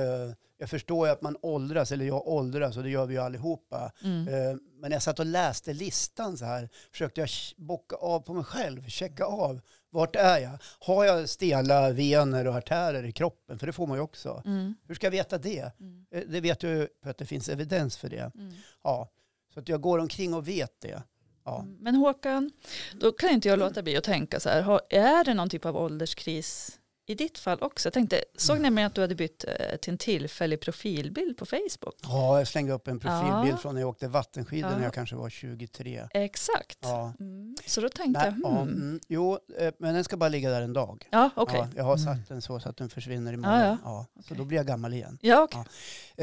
Speaker 2: jag förstår ju att man åldras, eller jag åldras och det gör vi ju allihopa.
Speaker 3: Mm.
Speaker 2: Eh, men när jag satt och läste listan så här, försökte jag ch- bocka av på mig själv, checka
Speaker 3: Mm.
Speaker 2: av, vart är jag? Har jag stela vener och artärer i kroppen? För det får man ju också.
Speaker 3: Mm.
Speaker 2: Hur ska jag veta det?
Speaker 3: Mm.
Speaker 2: Eh, Det vet jag ju för att det finns evidens för det.
Speaker 3: Mm.
Speaker 2: Ja. Så att jag går omkring och vet det. Ja.
Speaker 3: Mm, Men Håkan, då kan inte jag låta bli att tänka så här, har, är det någon typ av ålderskris i ditt fall också? Jag tänkte, såg
Speaker 2: Mm.
Speaker 3: nämligen att du hade bytt eh, till en tillfällig profilbild på Facebook.
Speaker 2: ja, jag slängde upp en profilbild
Speaker 3: Ja.
Speaker 2: från när jag åkte vattenskidor
Speaker 3: Ja.
Speaker 2: när jag kanske var 23.
Speaker 3: Exakt.
Speaker 2: Ja.
Speaker 3: Mm. Så då tänkte
Speaker 2: Nej,
Speaker 3: jag,
Speaker 2: ja,
Speaker 3: hmm.
Speaker 2: mm, jo, eh, men den ska bara ligga där en dag.
Speaker 3: ja okej. Mm.
Speaker 2: Ja, jag har satt den så, så att den försvinner imorgon.
Speaker 3: Ja, ja.
Speaker 2: Så
Speaker 3: Okej.
Speaker 2: då blir jag gammal igen.
Speaker 3: Ja, okej.
Speaker 2: Ja.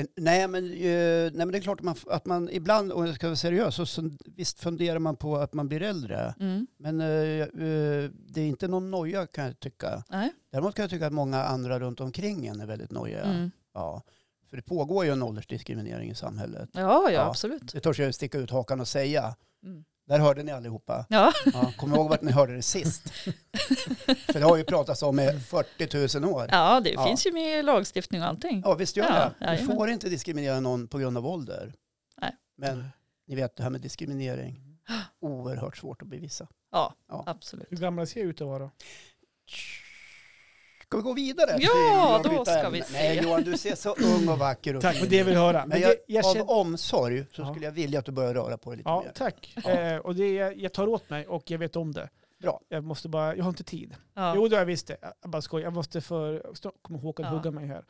Speaker 2: Eh, Nej men, eh, nej, men det är klart att man, att man ibland, om jag ska vara seriös, så, så visst funderar man på att man blir äldre.
Speaker 3: Mm.
Speaker 2: Men eh, eh, det är inte någon noja kan jag tycka.
Speaker 3: Nej.
Speaker 2: Däremot kan jag tycka att många andra runt omkring en är väldigt nojiga.
Speaker 3: Mm.
Speaker 2: Ja. För det pågår ju en åldersdiskriminering i samhället.
Speaker 3: Ja, ja,
Speaker 2: Ja.
Speaker 3: absolut.
Speaker 2: Det törs jag sticka ut hakan och säga.
Speaker 3: Mm.
Speaker 2: Där hörde ni allihopa.
Speaker 3: Ja,
Speaker 2: Ja, kom ihåg vart ni hörde det sist. För det har ju pratats om i 40 000 år.
Speaker 3: ja det
Speaker 2: Ja.
Speaker 3: finns ju med i lagstiftning och allting.
Speaker 2: Ja, visst gör
Speaker 3: Ja,
Speaker 2: det. Du
Speaker 3: jajamän.
Speaker 2: får inte diskriminera någon på grund av ålder.
Speaker 3: Nej.
Speaker 2: Men ni vet det här med diskriminering. Oerhört svårt att bevisa.
Speaker 3: Ja,
Speaker 2: Ja.
Speaker 3: absolut.
Speaker 1: Hur gamla ser jag ut att vara?
Speaker 2: Ska vi gå vidare?
Speaker 3: Ja,
Speaker 2: till att
Speaker 3: då
Speaker 2: byta
Speaker 3: ska
Speaker 2: ämne?
Speaker 3: vi se.
Speaker 2: Nej, Johan, du ser så ung och vacker och
Speaker 1: Tack,
Speaker 2: fin
Speaker 1: men det vill jag höra.
Speaker 2: Men
Speaker 1: Men
Speaker 2: jag,
Speaker 1: det, jag känner,
Speaker 2: av omsorg så
Speaker 1: Ja.
Speaker 2: skulle jag vilja att du börjar röra på dig lite
Speaker 1: ja,
Speaker 2: mer.
Speaker 1: tack.
Speaker 2: Ja.
Speaker 1: Eh, och det, är- jag tar åt mig och jag vet om det.
Speaker 2: Bra.
Speaker 1: Jag måste bara, jag har inte tid.
Speaker 3: Ja.
Speaker 1: Jo, det har jag visst det. Jag bara skojar. Jag måste för... snart kommer Håkan
Speaker 3: Ja.
Speaker 1: hugga mig här.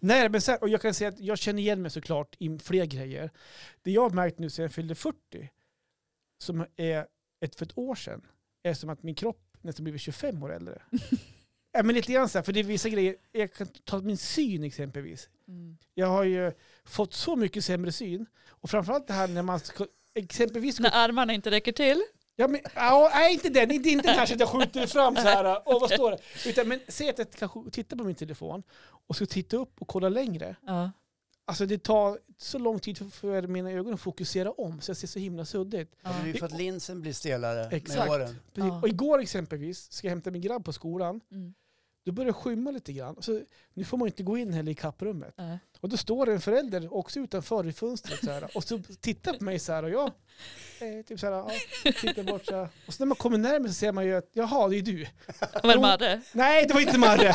Speaker 1: Nej, men så här, och jag kan säga att jag känner igen mig såklart i fler grejer. Det jag har märkt nu sedan jag fyllde 40, som är ett för ett år sedan, är som att min kropp nästan blivit 25 år äldre. Ja, men lite grann så här, för det är vissa grejer. Jag kan ta min syn exempelvis.
Speaker 3: Mm.
Speaker 1: Jag har ju fått så mycket sämre syn. Och framförallt det här när man ska, exempelvis...
Speaker 3: När armarna inte räcker till.
Speaker 1: Ja, men, ja, nej, inte den. Inte, inte den här så att jag skjuter fram så här. Och vad står det? Utan, men säg att jag kanske tittar på min telefon och ska titta upp och kolla längre.
Speaker 3: Ja.
Speaker 1: Alltså det tar så lång tid för, för mina ögon att fokusera om så jag ser så himla suddigt.
Speaker 2: Ja, men det är ju för att linsen blir stelare med
Speaker 1: Exakt.
Speaker 2: åren.
Speaker 1: Precis.
Speaker 3: Ja.
Speaker 1: Och igår exempelvis ska jag hämta min grabb på skolan.
Speaker 3: Mm.
Speaker 1: Då börjar det skymma lite grann. Så, nu får man ju inte gå in heller i kapprummet.
Speaker 3: Nej.
Speaker 1: Och då står det en förälder också utanför i fönstret så här, och så tittar på mig så här och jag eh, typ så här, ja, tittar bort så här. Och så när man kommer närmare så ser man ju att jaha, det är du.
Speaker 3: Var det
Speaker 1: Jo.
Speaker 3: Marre?
Speaker 1: Nej, det var inte Marre.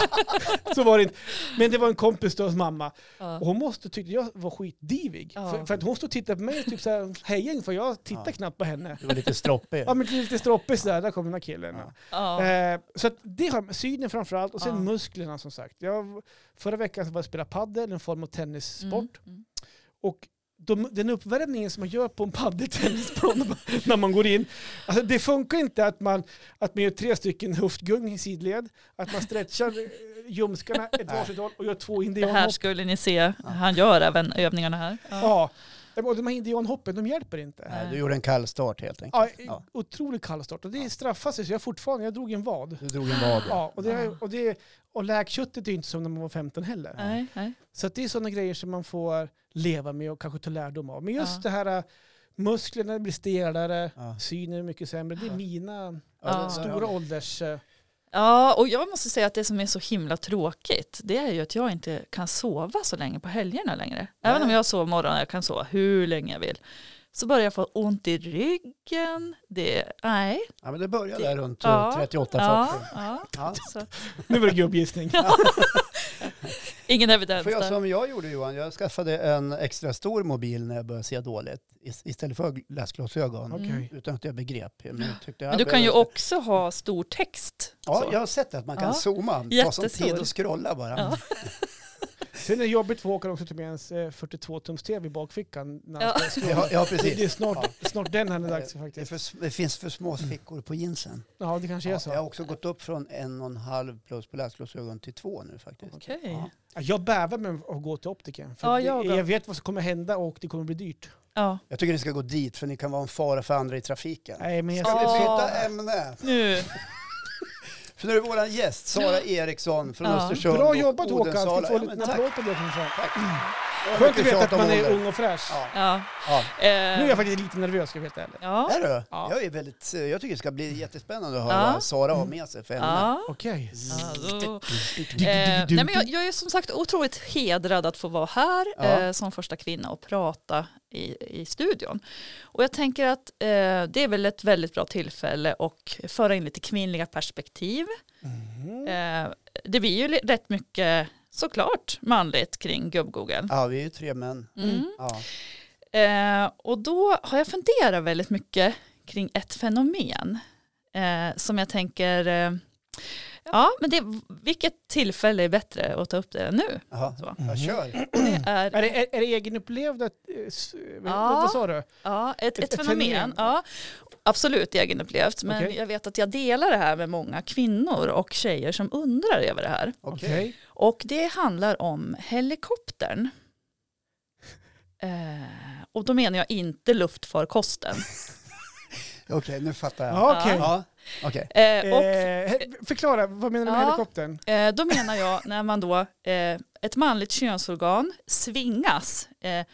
Speaker 1: så var det inte. Men det var en kompis till oss mamma.
Speaker 3: Ja.
Speaker 1: Och hon måste tyckte jag var skitdivig.
Speaker 3: Ja.
Speaker 1: För, för att hon stod och tittade på mig och typ så här, hejade för jag tittar
Speaker 2: Ja.
Speaker 1: knappt på henne.
Speaker 2: Du var lite stroppig.
Speaker 1: Ja men lite stroppig sådär, där kom den här killen.
Speaker 3: Ja.
Speaker 1: Eh, så att det har synen framförallt och sen
Speaker 3: Ja.
Speaker 1: musklerna som sagt. Jag, förra veckan så var jag och spelade padel, en form av tennissport.
Speaker 3: Mm. Mm.
Speaker 1: Och de, den uppvärmningen som man gör på en padeltennisplan när man går in, alltså det funkar inte att man, att man gör tre stycken höftgung i sidled, att man stretchar eh, ljumskarna ett varsitt håll och gör två
Speaker 3: Det här
Speaker 1: indianhopp.
Speaker 3: skulle ni se. Han gör även övningarna här.
Speaker 1: Ja. Och de här indianhoppen, de hjälper inte.
Speaker 2: Nej, du gjorde en kall start helt enkelt.
Speaker 1: Ja,
Speaker 2: Ja.
Speaker 1: otrolig kallstart och det straffar sig så jag fortfarande, jag drog en vad.
Speaker 2: Du drog en vad.
Speaker 1: Ja, och, det, och, det, och läkköttet är ju inte som när man var 15 heller.
Speaker 3: Nej, nej.
Speaker 1: Så att det är sådana grejer som man får leva med och kanske ta lärdom av. Men just
Speaker 3: Ja.
Speaker 1: det här äh, musklerna blir stelare,
Speaker 2: Ja.
Speaker 1: synen är mycket sämre. Det är mina äh,
Speaker 3: Ja.
Speaker 2: det-
Speaker 1: stora ålders... äh,
Speaker 3: Ja, och jag måste säga att det som är så himla tråkigt, det är ju att jag inte kan sova så länge på helgerna längre. Även om jag sover morgonen, jag kan sova hur länge jag vill. Så börjar jag få ont i ryggen. Det, nej.
Speaker 2: Ja, men det började där runt eh,
Speaker 3: Ja.
Speaker 2: 38-40.
Speaker 3: Ja, ja.
Speaker 2: Ja.
Speaker 3: Så.
Speaker 1: Nu var det gubbgissning.
Speaker 3: Ingen evidens
Speaker 2: Får jag
Speaker 3: där.
Speaker 2: som jag gjorde Johan, jag skaffade en extra stor mobil när jag började se dåligt. Ist- Istället för läsglasögon.
Speaker 1: Okej.
Speaker 2: Utan att jag begrep. Men, jag tyckte jag
Speaker 3: Mm. Men du kan ju
Speaker 2: behövde-
Speaker 3: också ha stor text.
Speaker 2: Ja,
Speaker 3: Så.
Speaker 2: jag har sett att man kan
Speaker 3: Ja.
Speaker 2: zooma. Ta
Speaker 3: Jättestor.
Speaker 2: som tid och scrolla bara.
Speaker 3: Ja.
Speaker 1: Sen är det jobbigt för Håkan också att ta med ens 42-tums-tv i bakfickan. När han
Speaker 3: Ja.
Speaker 1: ska slå.
Speaker 2: Ja, ja,
Speaker 1: Det det är
Speaker 2: precis.
Speaker 1: snart, snart den här är dags
Speaker 2: Det, är
Speaker 1: faktiskt.
Speaker 2: för, s- det finns för små
Speaker 3: Mm.
Speaker 2: fickor på jeansen.
Speaker 1: Ja, det kanske är
Speaker 2: Ja, jag har
Speaker 1: så.
Speaker 2: också gått upp från en och en halv plus på läsglasögon till två nu faktiskt.
Speaker 3: Okej.
Speaker 2: Ja.
Speaker 1: Jag bävar med att gå till optiken. För
Speaker 3: Ja,
Speaker 1: det-
Speaker 3: jag
Speaker 1: jag,
Speaker 3: också.
Speaker 1: vet vad som kommer hända och det kommer bli dyrt.
Speaker 3: Ja,
Speaker 2: Jag tycker ni ska gå dit för ni kan vara en fara för andra i trafiken.
Speaker 1: Nej, men jag
Speaker 2: Ska vi
Speaker 3: Ja.
Speaker 2: byta ämne?
Speaker 3: nu.
Speaker 2: För nu är det våran gäst, Sara Eriksson från
Speaker 3: Ja.
Speaker 2: Östersund
Speaker 1: Bra
Speaker 2: och
Speaker 1: jobbat Håkan! Ska
Speaker 2: Odensala.
Speaker 1: få
Speaker 2: Ja,
Speaker 1: lite
Speaker 2: men
Speaker 1: en
Speaker 2: tack.
Speaker 1: applåd på det. som sagt.
Speaker 2: Tack.
Speaker 1: Skönt att
Speaker 2: Mycket
Speaker 1: veta
Speaker 2: tjat
Speaker 1: att man
Speaker 2: om
Speaker 1: är
Speaker 2: ålder.
Speaker 1: ung och fräsch.
Speaker 2: Ja.
Speaker 3: Ja. Eh,
Speaker 2: Ja.
Speaker 1: Nu är jag faktiskt lite nervös ska jag vara helt ärlig.
Speaker 3: ja.
Speaker 2: Är du?
Speaker 1: Ja.
Speaker 2: Jag, är väldigt, jag tycker det ska bli jättespännande att höra
Speaker 3: Ja. Mm.
Speaker 2: vad Sara har med sig för ämne.
Speaker 3: ja.
Speaker 1: Okej.
Speaker 3: Alltså. Eh, nej men jag, jag är som sagt otroligt hedrad att få vara här
Speaker 2: Ja.
Speaker 3: eh, som första kvinna och prata i, i studion. Och jag tänker att eh, det är väl ett väldigt bra tillfälle och föra in lite kvinnliga perspektiv. Eh, det blir ju li- rätt mycket såklart manligt kring gubb-Google.
Speaker 2: Ja, vi är ju tre män.
Speaker 3: Mm.
Speaker 2: Ja.
Speaker 3: Eh, och då har jag funderat väldigt mycket kring ett fenomen eh, som jag tänker, eh, ja men det, vilket tillfälle är bättre att ta upp det än nu?
Speaker 2: Jaha.
Speaker 3: Så.
Speaker 1: Mhm.
Speaker 2: Jag kör.
Speaker 3: Det är
Speaker 1: Är det, är, är det egenupplevda, eh, s- vad-
Speaker 3: Ja.
Speaker 1: vad sa du?
Speaker 3: Ja, ett, ett,
Speaker 1: Ett- ett
Speaker 3: fenomen.
Speaker 1: fenomen.
Speaker 3: Ja, absolut egenupplevt, men
Speaker 1: Okej.
Speaker 3: jag vet att jag delar det här med många kvinnor och tjejer som undrar över det här.
Speaker 2: Okej.
Speaker 3: Och det handlar om helikoptern. Eh, och då menar jag inte luftfarkosten.
Speaker 2: Okej, nu fattar jag.
Speaker 1: Ja, okej.
Speaker 2: Ja. Okej.
Speaker 3: Eh, och
Speaker 1: Eh, he- förklara, vad menar du med
Speaker 3: Ja.
Speaker 1: helikoptern?
Speaker 3: eh, då menar jag när man då, eh, ett manligt könsorgan svingas, eh,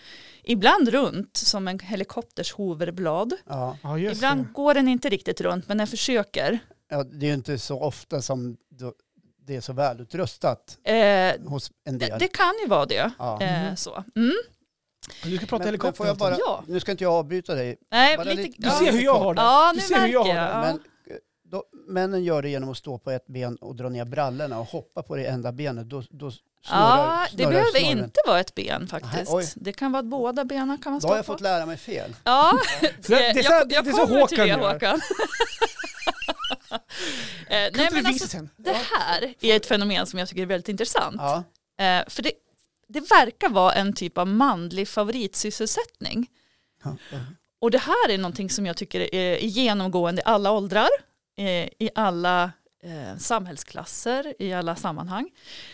Speaker 3: ibland runt som en helikopters hoverblad.
Speaker 2: Ja.
Speaker 1: Ja, just
Speaker 3: Ibland går den inte riktigt runt, men den försöker.
Speaker 2: ja, det är ju inte så ofta som då- det är så välutrustat
Speaker 3: Eh,
Speaker 2: hos en
Speaker 3: det,
Speaker 2: del.
Speaker 3: det kan ju vara det.
Speaker 2: Ja.
Speaker 3: Eh, så. Mm.
Speaker 1: det. Du ska prata
Speaker 2: Men, men
Speaker 1: helikopter.
Speaker 2: får jag bara,
Speaker 3: Ja.
Speaker 2: Nu ska inte jag avbryta dig,
Speaker 3: Nej,
Speaker 2: Bara
Speaker 3: lite,
Speaker 2: lite-
Speaker 1: Du
Speaker 3: ja.
Speaker 1: ser hur jag har det.
Speaker 3: Ja,
Speaker 1: du
Speaker 3: nu
Speaker 1: ser hur jag
Speaker 3: märker
Speaker 1: har
Speaker 3: jag.
Speaker 1: det.
Speaker 3: Ja.
Speaker 2: men eh, då, männen gör det genom att stå på ett ben och dra ner brallorna och hoppa på det enda benet. Då, då snurrar,
Speaker 3: Ja, det
Speaker 2: snurrar
Speaker 3: behöver
Speaker 2: snorren.
Speaker 3: inte vara ett ben
Speaker 2: Nej, oj.
Speaker 3: faktiskt. Det kan vara att båda benen kan
Speaker 2: Då
Speaker 3: man stå
Speaker 2: har jag
Speaker 3: på.
Speaker 2: fått lära mig fel.
Speaker 3: Ja,
Speaker 1: Så det- det är så-
Speaker 3: jag,
Speaker 1: det
Speaker 3: jag
Speaker 1: är så
Speaker 3: kommer till det
Speaker 1: Håkan gör.
Speaker 3: Håkan. Eh, Nej,
Speaker 1: Kan inte
Speaker 3: men
Speaker 1: du visa
Speaker 3: alltså,
Speaker 1: sen?
Speaker 3: det här är ett fenomen som jag tycker är väldigt intressant.
Speaker 2: Ja.
Speaker 3: Eh, För det, det verkar vara en typ av manlig favoritsysselsättning.
Speaker 2: Ja.
Speaker 3: Och det här är någonting som jag tycker är genomgående i alla åldrar, eh, i alla eh, samhällsklasser i alla sammanhang.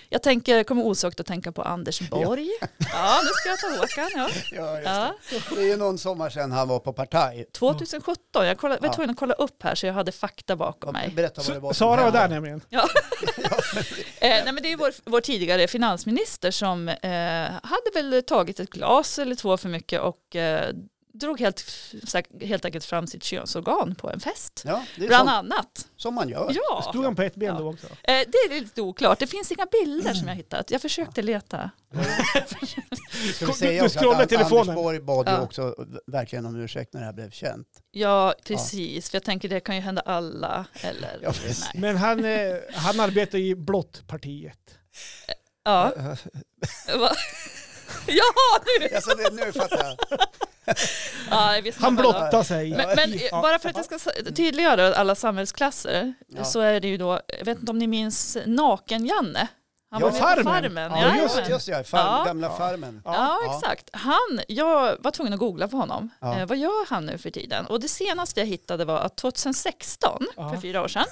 Speaker 3: Jag tänker, kommer osökt att tänka på Anders Borg. Ja, nu ska jag ta Håkan. Ja.
Speaker 2: Ja, just
Speaker 3: Ja.
Speaker 2: det. det är ju någon sommar sedan han var på partaj.
Speaker 3: 2017, jag kollade, var
Speaker 2: Ja.
Speaker 3: tvungen att kolla upp här så jag hade fakta bakom mig.
Speaker 2: Berätta vad det var som
Speaker 1: Sara var
Speaker 2: hände.
Speaker 1: där nämligen.
Speaker 3: Eh, nej, men det är ju vår, vår tidigare finansminister som eh, hade väl tagit ett glas eller två för mycket och eh, drog helt, säk- helt enkelt fram sitt könsorgan på en fest.
Speaker 2: Ja, det är
Speaker 3: Bland
Speaker 2: som,
Speaker 3: annat.
Speaker 2: som man gör.
Speaker 3: Ja,
Speaker 1: Stod han på ett ben
Speaker 3: Ja.
Speaker 1: då också?
Speaker 3: eh, det är lite oklart. Det finns inga bilder som jag
Speaker 2: Mm.
Speaker 3: hittat. Jag försökte leta.
Speaker 2: Ska
Speaker 1: Du-
Speaker 2: vi säga
Speaker 1: du
Speaker 2: också att
Speaker 1: scrollar
Speaker 2: An-
Speaker 1: telefonen.
Speaker 2: Anders Borg bad ju
Speaker 3: Ja.
Speaker 2: också verkligen om ursäkt när det här blev känt.
Speaker 3: Ja, precis. För jag tänker det kan ju hända alla. Eller,
Speaker 2: Ja, precis.
Speaker 3: nej.
Speaker 1: Men han, eh, han arbetar i Blått-partiet.
Speaker 3: Ja. Va? Jaha, nu!
Speaker 2: Alltså, det, nu fattar jag.
Speaker 3: Ja, jag visste
Speaker 1: Han
Speaker 3: vad det var.
Speaker 1: blottar sig.
Speaker 3: Men, men eh,
Speaker 1: Ja.
Speaker 3: bara för att jag ska s- tydliggöra alla samhällsklasser
Speaker 2: Ja.
Speaker 3: så är det ju då, jag vet inte om ni minns Naken-Janne? Han
Speaker 2: Ja,
Speaker 3: var med
Speaker 1: Farmen.
Speaker 3: på Farmen.
Speaker 1: Ja,
Speaker 3: jajamän.
Speaker 2: Just, just ja, farm,
Speaker 3: Ja.
Speaker 2: gamla farmen.
Speaker 3: Ja,
Speaker 2: Ja.
Speaker 3: exakt. Han, jag var tvungen att googla på honom.
Speaker 2: Ja.
Speaker 3: Eh, vad gör han nu för tiden? Och det senaste jag hittade var att 2016,
Speaker 1: Ja.
Speaker 3: för fyra år sedan,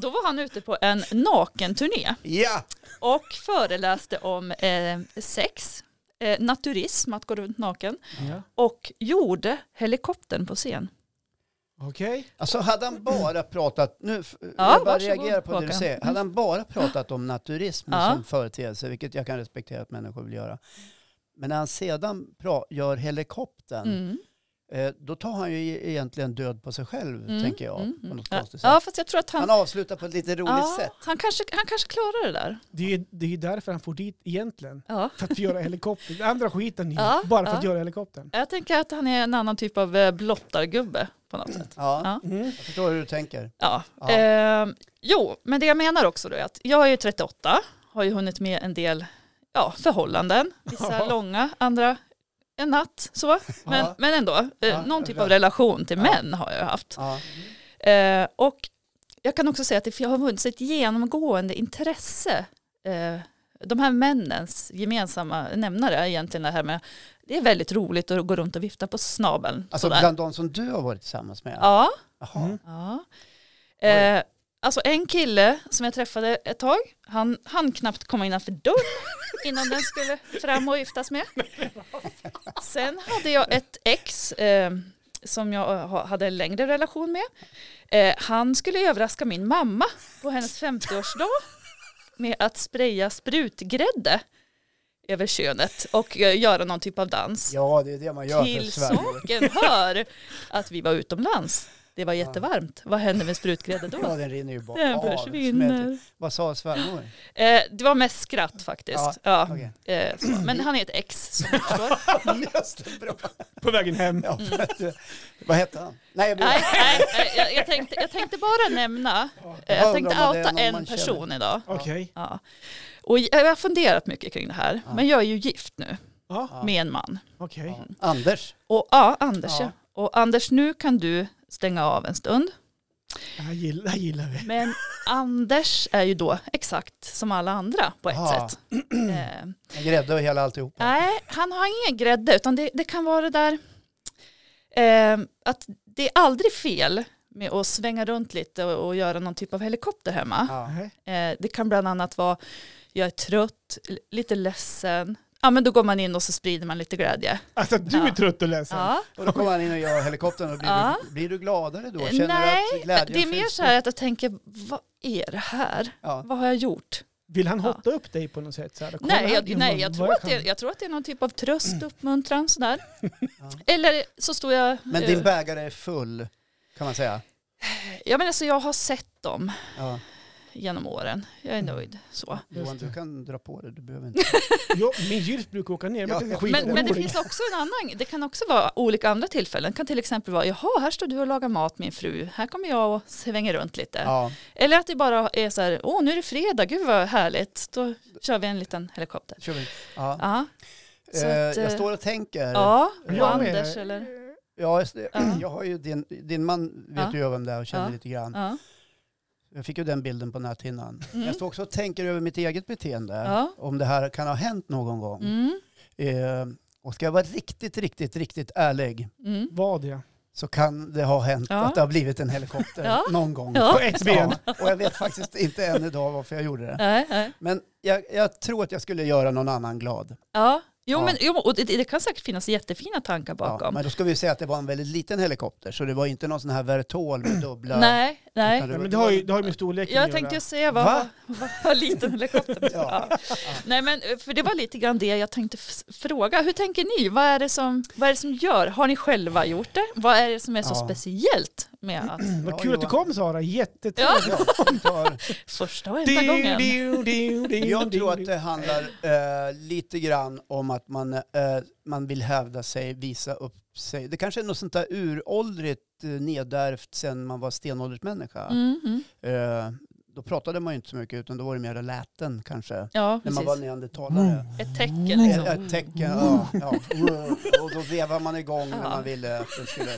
Speaker 3: då var han ute på en nakenturné
Speaker 2: Ja,
Speaker 3: och föreläste om eh, sex, eh, naturism, att gå runt naken,
Speaker 1: Ja.
Speaker 3: och gjorde helikoptern på scen.
Speaker 1: Okej.
Speaker 2: alltså hade han bara pratat, nu ja, jag bara
Speaker 3: varsågod,
Speaker 2: reagerar på det du
Speaker 3: Håkan.
Speaker 2: säger, hade han bara pratat om naturismen
Speaker 3: Ja.
Speaker 2: som företeelse, vilket jag kan respektera att människor vill göra, men när han sedan pra- gör helikoptern,
Speaker 3: Mm.
Speaker 2: eh, då tar han ju e- egentligen död på sig själv,
Speaker 3: Mm,
Speaker 2: tänker jag,
Speaker 3: mm,
Speaker 2: på
Speaker 3: mm.
Speaker 2: något konstigt
Speaker 3: Ja,
Speaker 2: sätt.
Speaker 3: fast jag tror att han...
Speaker 2: Han avslutar på ett lite roligt
Speaker 3: ja,
Speaker 2: sätt.
Speaker 3: Han, kanske, han kanske klarar det där.
Speaker 1: Det är ju det är ju därför han får dit egentligen.
Speaker 3: Ja.
Speaker 1: För att göra helikoptern. Den andra skiten är ju
Speaker 3: Ja,
Speaker 1: bara för att
Speaker 3: ja.
Speaker 1: göra helikoptern.
Speaker 3: Jag tänker att han är en annan typ av eh, blottargubbe på något sätt.
Speaker 2: Ja,
Speaker 3: Ja.
Speaker 1: Mm.
Speaker 2: jag förstår hur du tänker.
Speaker 3: Ja.
Speaker 2: Ja.
Speaker 3: Ehm, jo, men det jag menar också då är att jag är ju 38, har ju hunnit med en del ja, förhållanden, vissa
Speaker 1: Ja.
Speaker 3: långa, andra en natt så. Men,
Speaker 2: Ja.
Speaker 3: men ändå, eh,
Speaker 2: Ja,
Speaker 3: någon typ
Speaker 2: ja.
Speaker 3: av relation till
Speaker 2: Ja.
Speaker 3: män har jag haft.
Speaker 2: Ja.
Speaker 3: Eh, och jag kan också säga att det har funnits ett genomgående intresse. Eh, de här männens gemensamma nämnare är egentligen det här med det är väldigt roligt att gå runt och vifta på snabeln.
Speaker 2: Alltså
Speaker 3: sådär.
Speaker 2: bland de som du har varit tillsammans med?
Speaker 3: Ja.
Speaker 2: Jaha.
Speaker 1: Mm.
Speaker 3: ja. Eh, alltså en kille som jag träffade ett tag, han han knappt komma innanför dörren innan den skulle fram och giftas med. Sen hade jag ett ex eh, som jag ha- hade en längre relation med. Eh, han skulle överraska min mamma på hennes 50-årsdag med att spraya sprutgrädde över könet och eh, göra någon typ av dans.
Speaker 2: Ja, det är det man gör för
Speaker 3: Till
Speaker 2: Sverige.
Speaker 3: saken hör att vi var utomlands. Det var jättevarmt. Vad hände med sprutgrädde
Speaker 2: Ja,
Speaker 3: då?
Speaker 2: den rinner ju bort.
Speaker 3: Den
Speaker 2: Ja,
Speaker 3: försvinner.
Speaker 2: Vad sa svärmor?
Speaker 3: Eh, det var mest skratt faktiskt. Ja,
Speaker 2: okej.
Speaker 3: eh, så. Men han är ett ex som jag förstår.
Speaker 2: Just det, bra.
Speaker 1: På vägen hem.
Speaker 2: Ja, för att, eh, Vad hette han? Nej, jag blir-
Speaker 3: nej, nej, nej, jag, jag, tänkte, jag tänkte bara nämna, eh, jag tänkte
Speaker 2: Undrar om det är
Speaker 3: outa
Speaker 2: någon
Speaker 3: en
Speaker 2: man känner.
Speaker 3: person idag.
Speaker 1: Okej.
Speaker 3: Ja. Och jag har funderat mycket kring det här, men jag är ju gift nu
Speaker 1: Ja,
Speaker 3: med en man.
Speaker 1: okej.
Speaker 2: Ja. Anders.
Speaker 3: Och ja, Anders
Speaker 2: Ja.
Speaker 3: ja. Och Anders, nu kan du stänga av en stund.
Speaker 1: Det här gillar, det här gillar vi.
Speaker 3: Men Anders är ju då exakt som alla andra på ett
Speaker 2: Ja.
Speaker 3: sätt. Eh,
Speaker 2: En grädde och hela alltihopa.
Speaker 3: nej, han har ingen grädde, utan det, det kan vara det där eh, att det är aldrig fel med att svänga runt lite och, och göra någon typ av helikopter hemma.
Speaker 2: Ja.
Speaker 1: Nej.
Speaker 3: Eh, det kan bland annat vara, jag är trött, l- lite ledsen. Ja, men då går man in och så sprider man lite glädje.
Speaker 1: Alltså du är
Speaker 3: Ja.
Speaker 1: trött och ledsen.
Speaker 3: Ja.
Speaker 2: Och då kommer han in och gör helikoptern och blir,
Speaker 3: Ja.
Speaker 2: du, blir du gladare då? Känner
Speaker 3: Nej,
Speaker 2: du att glädjen
Speaker 3: det är mer
Speaker 2: finns
Speaker 3: så här att jag tänker, vad är det här?
Speaker 2: Ja.
Speaker 3: Vad har jag gjort?
Speaker 1: Vill han hotta upp dig på något sätt? Så här, Kolla
Speaker 3: Nej,
Speaker 1: här,
Speaker 3: jag,
Speaker 1: gumman,
Speaker 3: nej jag,
Speaker 1: vad
Speaker 3: tror att det,
Speaker 1: kan.
Speaker 3: jag tror att det är någon typ av tröst, uppmuntran sådär. Eller så står jag... eh,
Speaker 2: Men din bägare är full, kan man säga.
Speaker 3: ja, men alltså, jag har sett dem
Speaker 2: Ja.
Speaker 3: genom åren. Jag är nöjd så.
Speaker 2: Johan, du kan dra på det. Du behöver inte.
Speaker 1: Jo, min gylf brukar åka ner.
Speaker 2: Ja.
Speaker 1: Men,
Speaker 2: Skit
Speaker 3: Men, men det
Speaker 1: skitorolig.
Speaker 3: finns också en annan, det kan också vara olika andra tillfällen. Det kan till exempel vara, jaha, här står du och lagar mat min fru, här kommer jag och svänger runt lite.
Speaker 2: Ja.
Speaker 3: Eller att det bara är så här, åh nu är det fredag, gud vad härligt, då kör vi en liten helikopter.
Speaker 2: Kör vi. Ja.
Speaker 3: Ja, så
Speaker 2: Eh,
Speaker 3: att,
Speaker 2: jag
Speaker 3: eh,
Speaker 2: står och tänker.
Speaker 3: ja
Speaker 1: Jag
Speaker 3: och
Speaker 1: med. Mm.
Speaker 3: Anders eller?
Speaker 2: Ja, just det.
Speaker 3: Ja.
Speaker 2: Jag har ju din, din man vet
Speaker 3: Ja.
Speaker 2: ju jag vem det är och känner
Speaker 3: Ja.
Speaker 2: lite grann.
Speaker 3: Ja,
Speaker 2: Jag fick ju den bilden på näthinnan.
Speaker 3: Mm.
Speaker 2: Jag står också och tänker över mitt eget beteende.
Speaker 3: Ja.
Speaker 2: Om det här kan ha hänt någon gång.
Speaker 3: mm,
Speaker 2: Eh, och ska jag vara riktigt, riktigt, riktigt ärlig
Speaker 3: mm.
Speaker 1: Vad ja.
Speaker 2: så kan det ha hänt
Speaker 3: Ja.
Speaker 2: att det har blivit en helikopter
Speaker 3: Ja.
Speaker 2: någon gång.
Speaker 3: Ja.
Speaker 1: På ett ben.
Speaker 2: Ja, Och jag vet faktiskt inte än idag varför jag gjorde det.
Speaker 3: Nej, nej.
Speaker 2: Men jag, jag tror att jag skulle göra någon annan glad.
Speaker 3: Ja. Jo,
Speaker 2: Ja.
Speaker 3: men jo, och det, det kan säkert finnas jättefina tankar
Speaker 2: Ja,
Speaker 3: bakom.
Speaker 2: men då ska vi säga att det var en väldigt liten helikopter, så det var inte någon sån här Vertol med dubbla...
Speaker 3: nej, nej.
Speaker 2: utan
Speaker 1: Nej,
Speaker 2: var-
Speaker 1: men det har ju, det har ju med storleken
Speaker 3: Jag
Speaker 1: att
Speaker 3: tänkte ju
Speaker 1: göra.
Speaker 3: säga vad,
Speaker 2: Va?
Speaker 3: vad, vad liten helikoptern var.
Speaker 2: Ja.
Speaker 3: ja. Nej men eh, för det var lite grann det jag tänkte f- fråga. Hur tänker ni? Vad är, det som, vad är det som gör? Har ni själva gjort det? Vad är det som är
Speaker 2: Ja.
Speaker 3: så speciellt med att
Speaker 2: Ja,
Speaker 1: Vad kul att du
Speaker 2: Johan.
Speaker 1: kom Sara, jättetrevligt.
Speaker 3: Ja.
Speaker 2: Ja, för-
Speaker 3: första och enda gången?
Speaker 1: Diu, diu, diu,
Speaker 2: Jag
Speaker 1: diu,
Speaker 2: tror att
Speaker 1: diu.
Speaker 2: det handlar eh, lite grann om att man, eh, man vill hävda sig, visa upp sig. Det kanske är något sånt där uråldrigt, eh, nedärvt sedan man var stenåldersmänniska.
Speaker 3: Mm, mm.
Speaker 2: Eh, då pratade man ju inte så mycket, utan då var det mer läten kanske.
Speaker 3: Ja,
Speaker 2: När
Speaker 3: precis.
Speaker 2: man var
Speaker 1: Mm.
Speaker 2: neandertalare.
Speaker 3: Ett tecken liksom.
Speaker 2: Ett, ett tecken, ja, ja. Och då vevade man igång när
Speaker 3: Ja.
Speaker 2: man ville att det skulle...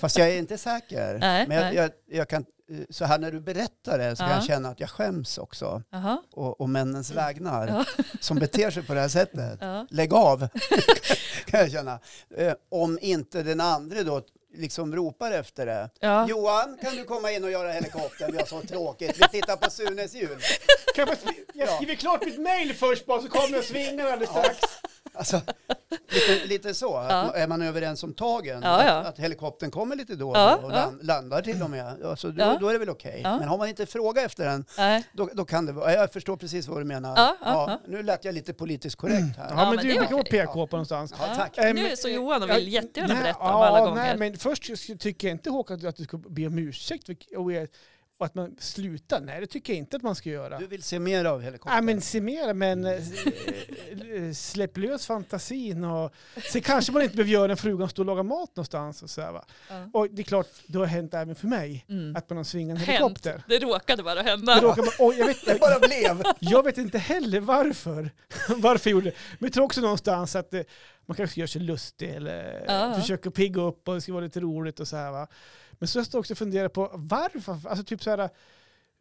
Speaker 2: Fast jag är inte säker.
Speaker 3: Nej,
Speaker 2: Men jag,
Speaker 3: nej.
Speaker 2: jag, jag kan, eh, så här när du berättar det så kan
Speaker 3: Ja.
Speaker 2: jag känna att jag skäms också
Speaker 3: Jaha,
Speaker 2: och, och männens vägnar
Speaker 3: Ja.
Speaker 2: som beter sig på det här sättet.
Speaker 3: ja.
Speaker 2: Lägg av, kan jag känna. Eh, om inte den andre då liksom ropar efter det.
Speaker 3: Ja.
Speaker 2: Johan, kan du komma in och göra helikoptern? Vi har så tråkigt. Vi tittar på Sunes jul.
Speaker 1: Kan jag, få- jag
Speaker 2: Ja.
Speaker 1: skriver klart mitt mail först bara så kommer jag och svingar alldeles strax.
Speaker 2: Alltså, lite, lite så. Att Är man överens om tagen,
Speaker 3: Ja, ja.
Speaker 2: Att, att helikoptern kommer lite då och,
Speaker 3: Ja,
Speaker 2: då och
Speaker 3: ja.
Speaker 2: lan- landar till och med, alltså, då,
Speaker 3: Ja.
Speaker 2: då är det väl okej.
Speaker 3: Ja.
Speaker 2: Men har man inte fråga efter den,
Speaker 3: Nej.
Speaker 2: då, då kan det vara... Jag förstår precis vad du menar.
Speaker 3: Ja, ja, ja.
Speaker 2: Nu lät jag lite politiskt korrekt här.
Speaker 1: Mm. Ja, men,
Speaker 3: men
Speaker 1: du
Speaker 3: det är
Speaker 1: brukar vara
Speaker 3: okej.
Speaker 1: PK på nånstans.
Speaker 2: Ja, tack.
Speaker 1: Ja.
Speaker 3: Nu
Speaker 1: Ehm,
Speaker 3: är så Johan och
Speaker 1: jag-
Speaker 3: vill jättegärna
Speaker 1: Nej,
Speaker 3: berätta om
Speaker 1: ja,
Speaker 3: alla
Speaker 1: Nej,
Speaker 3: gånger.
Speaker 1: men först så tycker jag inte Håkan att du ska be om ursäkt vilk- och er- och att man slutar. Nej, det tycker jag inte att man ska göra.
Speaker 2: Du vill se mer av helikoptern?
Speaker 1: Nej, men se mer, men eh, eh, släpp lös fantasin och se kanske man inte behöver göra en frugan stå och laga mat någonstans och så här, va.
Speaker 3: Ja.
Speaker 1: Och det är klart, det har hänt även för mig
Speaker 3: Mm.
Speaker 1: att man har svingat en
Speaker 3: Hänt.
Speaker 1: helikopter.
Speaker 3: Det råkade bara
Speaker 1: Det
Speaker 3: hända.
Speaker 1: råkar man, och jag, vet,
Speaker 2: Det bara blev.
Speaker 1: jag vet inte heller varför. varför jag gjorde det. Men jag tror också någonstans att eh, man kanske gör sig lustig eller
Speaker 3: Ja.
Speaker 1: försöker pigga upp och det ska vara lite roligt och så här va. Men så har jag också funderat på varför, alltså typ så här,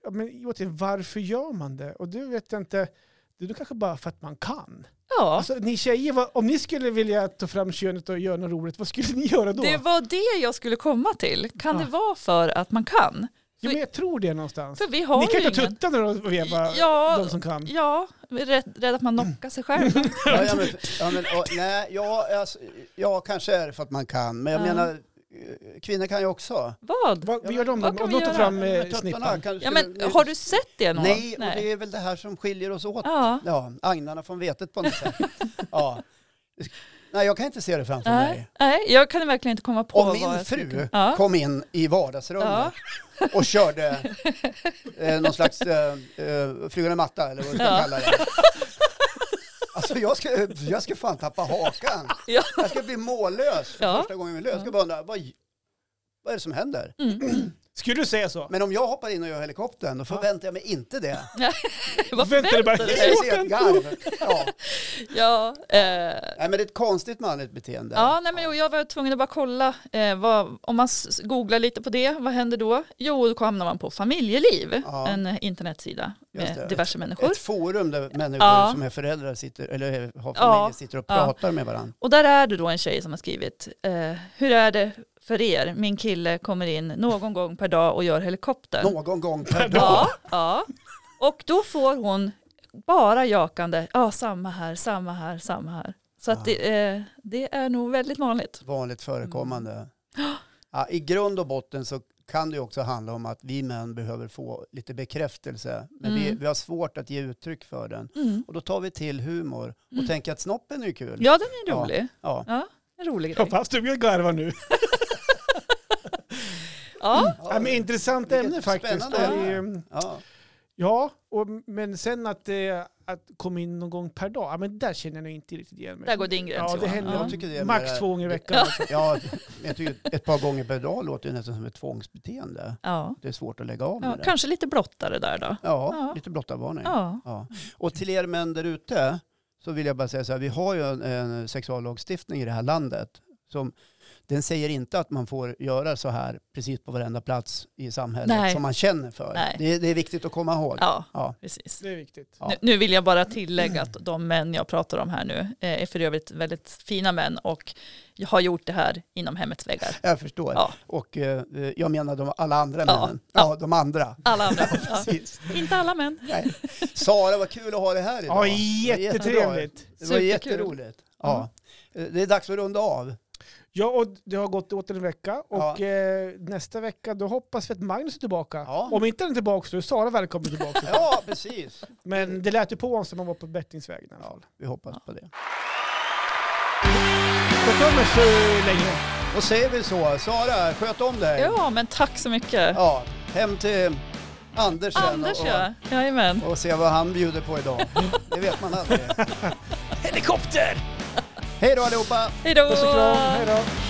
Speaker 1: ja, men, återigen, varför gör man det? Och det vet jag inte, det är nog kanske bara för att man kan.
Speaker 3: Ja.
Speaker 1: Alltså ni tjejer, vad, om ni skulle vilja ta fram könet och göra något roligt, vad skulle ni göra då?
Speaker 3: Det var det jag skulle komma till. Kan
Speaker 1: Ja.
Speaker 3: det vara för att man kan?
Speaker 1: Jo, men jag tror det någonstans.
Speaker 3: För vi har
Speaker 1: Ni kan
Speaker 3: ju
Speaker 1: ju ta
Speaker 3: ingen...
Speaker 1: tuttarna och veva,
Speaker 3: Ja.
Speaker 1: de som kan.
Speaker 2: Liksom.
Speaker 3: Ja, rädd, rädd att man knockar sig själv.
Speaker 2: Ja, ja, men, ja, men, och, nej, ja, alltså, ja, kanske är det för att man kan. Men jag
Speaker 3: Ja.
Speaker 2: menar, eh, kvinnor kan ju också.
Speaker 3: Vad?
Speaker 1: Vad, vad gör de då?
Speaker 3: Vad
Speaker 1: Om
Speaker 3: kan vi
Speaker 1: de tar
Speaker 3: göra?
Speaker 1: fram
Speaker 2: Men
Speaker 1: eh,
Speaker 2: tuttarna
Speaker 1: snippan.
Speaker 2: kanske-
Speaker 3: Ja, men, har du sett det någon?
Speaker 2: Nej, och det är väl det här som skiljer oss åt.
Speaker 3: Ja.
Speaker 2: Ja, agnarna från vetet på något sätt. Ja. Nej, jag kan inte se det framför mig.
Speaker 3: Nej. Nej, jag kan verkligen inte komma på
Speaker 2: Om
Speaker 3: vad
Speaker 2: min
Speaker 3: jag skulle kunna-
Speaker 2: fru
Speaker 3: Ja.
Speaker 2: kom in i vardagsrummet
Speaker 3: Ja.
Speaker 2: och körde eh, någon slags eh, eh, flygande matta eller vad du ska
Speaker 3: Ja.
Speaker 2: kalla det. Alltså jag ska, jag ska fan tappa hakan.
Speaker 3: Ja.
Speaker 2: Jag ska bli mållös för
Speaker 3: Ja. Mm.
Speaker 2: första gången i mitt liv. Jag ska bara undra, vad, vad är det som händer?
Speaker 1: Skulle du säga så?
Speaker 2: Men om jag hoppar in och gör helikoptern, då förväntar jag mig inte det.
Speaker 3: Vad
Speaker 1: Vänta, det bara-
Speaker 3: förväntar du
Speaker 2: Jag
Speaker 3: dig?
Speaker 2: ser ett garv. Ja.
Speaker 3: Ja, eh,
Speaker 2: Nej, men det är ett konstigt manligt beteende.
Speaker 3: Ja, nej, men jo, jag var tvungen att bara kolla. Eh, vad, om man s- googlar lite på det, vad händer då? Jo, då hamnar man på familjeliv,
Speaker 2: Ja.
Speaker 3: en eh, internetsida
Speaker 2: Just
Speaker 3: med
Speaker 2: det.
Speaker 3: diverse människor.
Speaker 2: Ett forum där människor
Speaker 3: Ja.
Speaker 2: som är föräldrar sitter, eller har familjer
Speaker 3: Ja.
Speaker 2: sitter och
Speaker 3: Ja.
Speaker 2: pratar med varandra.
Speaker 3: Och där är det då en tjej som har skrivit, eh, hur är det för er? Min kille kommer in någon gång per dag och gör helikoptern.
Speaker 2: Någon gång per dag.
Speaker 3: Ja, ja. Och då får hon bara jakande, ja samma här, samma här, samma här. Så att det, eh, det är nog väldigt vanligt.
Speaker 2: Vanligt förekommande. Ja, I grund och botten så kan det ju också handla om att vi män behöver få lite bekräftelse. Men vi,
Speaker 3: Mm.
Speaker 2: vi har svårt att ge uttryck för den.
Speaker 3: Mm.
Speaker 2: Och då tar vi till humor och
Speaker 3: Mm.
Speaker 2: tänker att snoppen är ju kul.
Speaker 3: Ja, den är rolig.
Speaker 2: Ja.
Speaker 3: Ja, en rolig
Speaker 1: Ja,
Speaker 3: grej.
Speaker 1: fast du jag garvar nu.
Speaker 3: Ja,
Speaker 2: Ja,
Speaker 1: Ja, men intressant
Speaker 2: Vilket
Speaker 1: ämne faktiskt.
Speaker 2: spännande.
Speaker 1: Det är, ehm,
Speaker 2: ja.
Speaker 1: Ja, och, men sen att, eh, att komma in någon gång per dag, ja, men där känner jag nog inte riktigt igen mig.
Speaker 3: där går din gräns
Speaker 1: Ja, det
Speaker 3: Johan.
Speaker 1: händer.
Speaker 3: Ja.
Speaker 2: Jag tycker det är
Speaker 1: Max
Speaker 2: mer-
Speaker 1: två gånger i veckan.
Speaker 2: Ja, jag tycker ett par gånger per dag låter ju nästan som ett tvångsbeteende.
Speaker 3: Ja.
Speaker 2: Det är svårt att lägga av med
Speaker 3: Ja,
Speaker 2: det. Mm.
Speaker 3: kanske lite blottare där då.
Speaker 2: Ja,
Speaker 3: Ja.
Speaker 2: lite blottarvarning.
Speaker 3: Ja.
Speaker 2: Ja. Och till er män där ute så vill jag bara säga så här, vi har ju en, en sexuallagstiftning i det här landet som, den säger inte att man får göra så här precis på varenda plats i samhället
Speaker 3: Nej.
Speaker 2: som man känner för.
Speaker 3: Nej.
Speaker 2: Det, är- det är viktigt att komma ihåg.
Speaker 3: Ja,
Speaker 2: Ja.
Speaker 3: precis.
Speaker 1: Det är viktigt.
Speaker 2: Ja. Mm.
Speaker 3: Nu, nu vill jag bara tillägga att de män jag pratar om här nu eh, är för övrigt väldigt fina män och jag har gjort det här inom hemmets väggar.
Speaker 2: Jag förstår.
Speaker 3: Ja.
Speaker 2: Och eh, eh, jag menar de alla andra
Speaker 3: Ja.
Speaker 2: männen. Ja, de andra.
Speaker 3: Alla andra. Ja.
Speaker 2: Precis.
Speaker 3: Inte alla män.
Speaker 2: Nej. Sara, vad kul att ha dig här idag.
Speaker 1: Ja,
Speaker 2: Jättebra.
Speaker 1: jättetrevligt.
Speaker 2: Det var
Speaker 3: Superkul.
Speaker 2: jätteroligt. Ja. Eh, Det är dags att runda av.
Speaker 1: Ja, och det har gått åter en vecka och
Speaker 2: Ja.
Speaker 1: eh, nästa vecka då hoppas vi att Magnus är tillbaka.
Speaker 2: Ja.
Speaker 1: Om inte han är tillbaka så är Sara välkommen tillbaka.
Speaker 2: Ja, precis.
Speaker 1: Men det lät ju på honom som han var på bettingsvägen i alla
Speaker 2: Ja,
Speaker 1: fall.
Speaker 2: vi hoppas på det.
Speaker 1: Sköt om er så länge.
Speaker 2: Och säger vi så. Sara, sköt om dig.
Speaker 3: Ja, men tack så mycket.
Speaker 2: Ja, hem till Anders, sen
Speaker 3: Anders ja. Jajamän.
Speaker 2: och, och se vad han bjuder på idag. Det vet man aldrig.
Speaker 1: Helikopter!
Speaker 2: Hej då allihopa!
Speaker 3: Hej då.
Speaker 1: Puss och kram, hej då.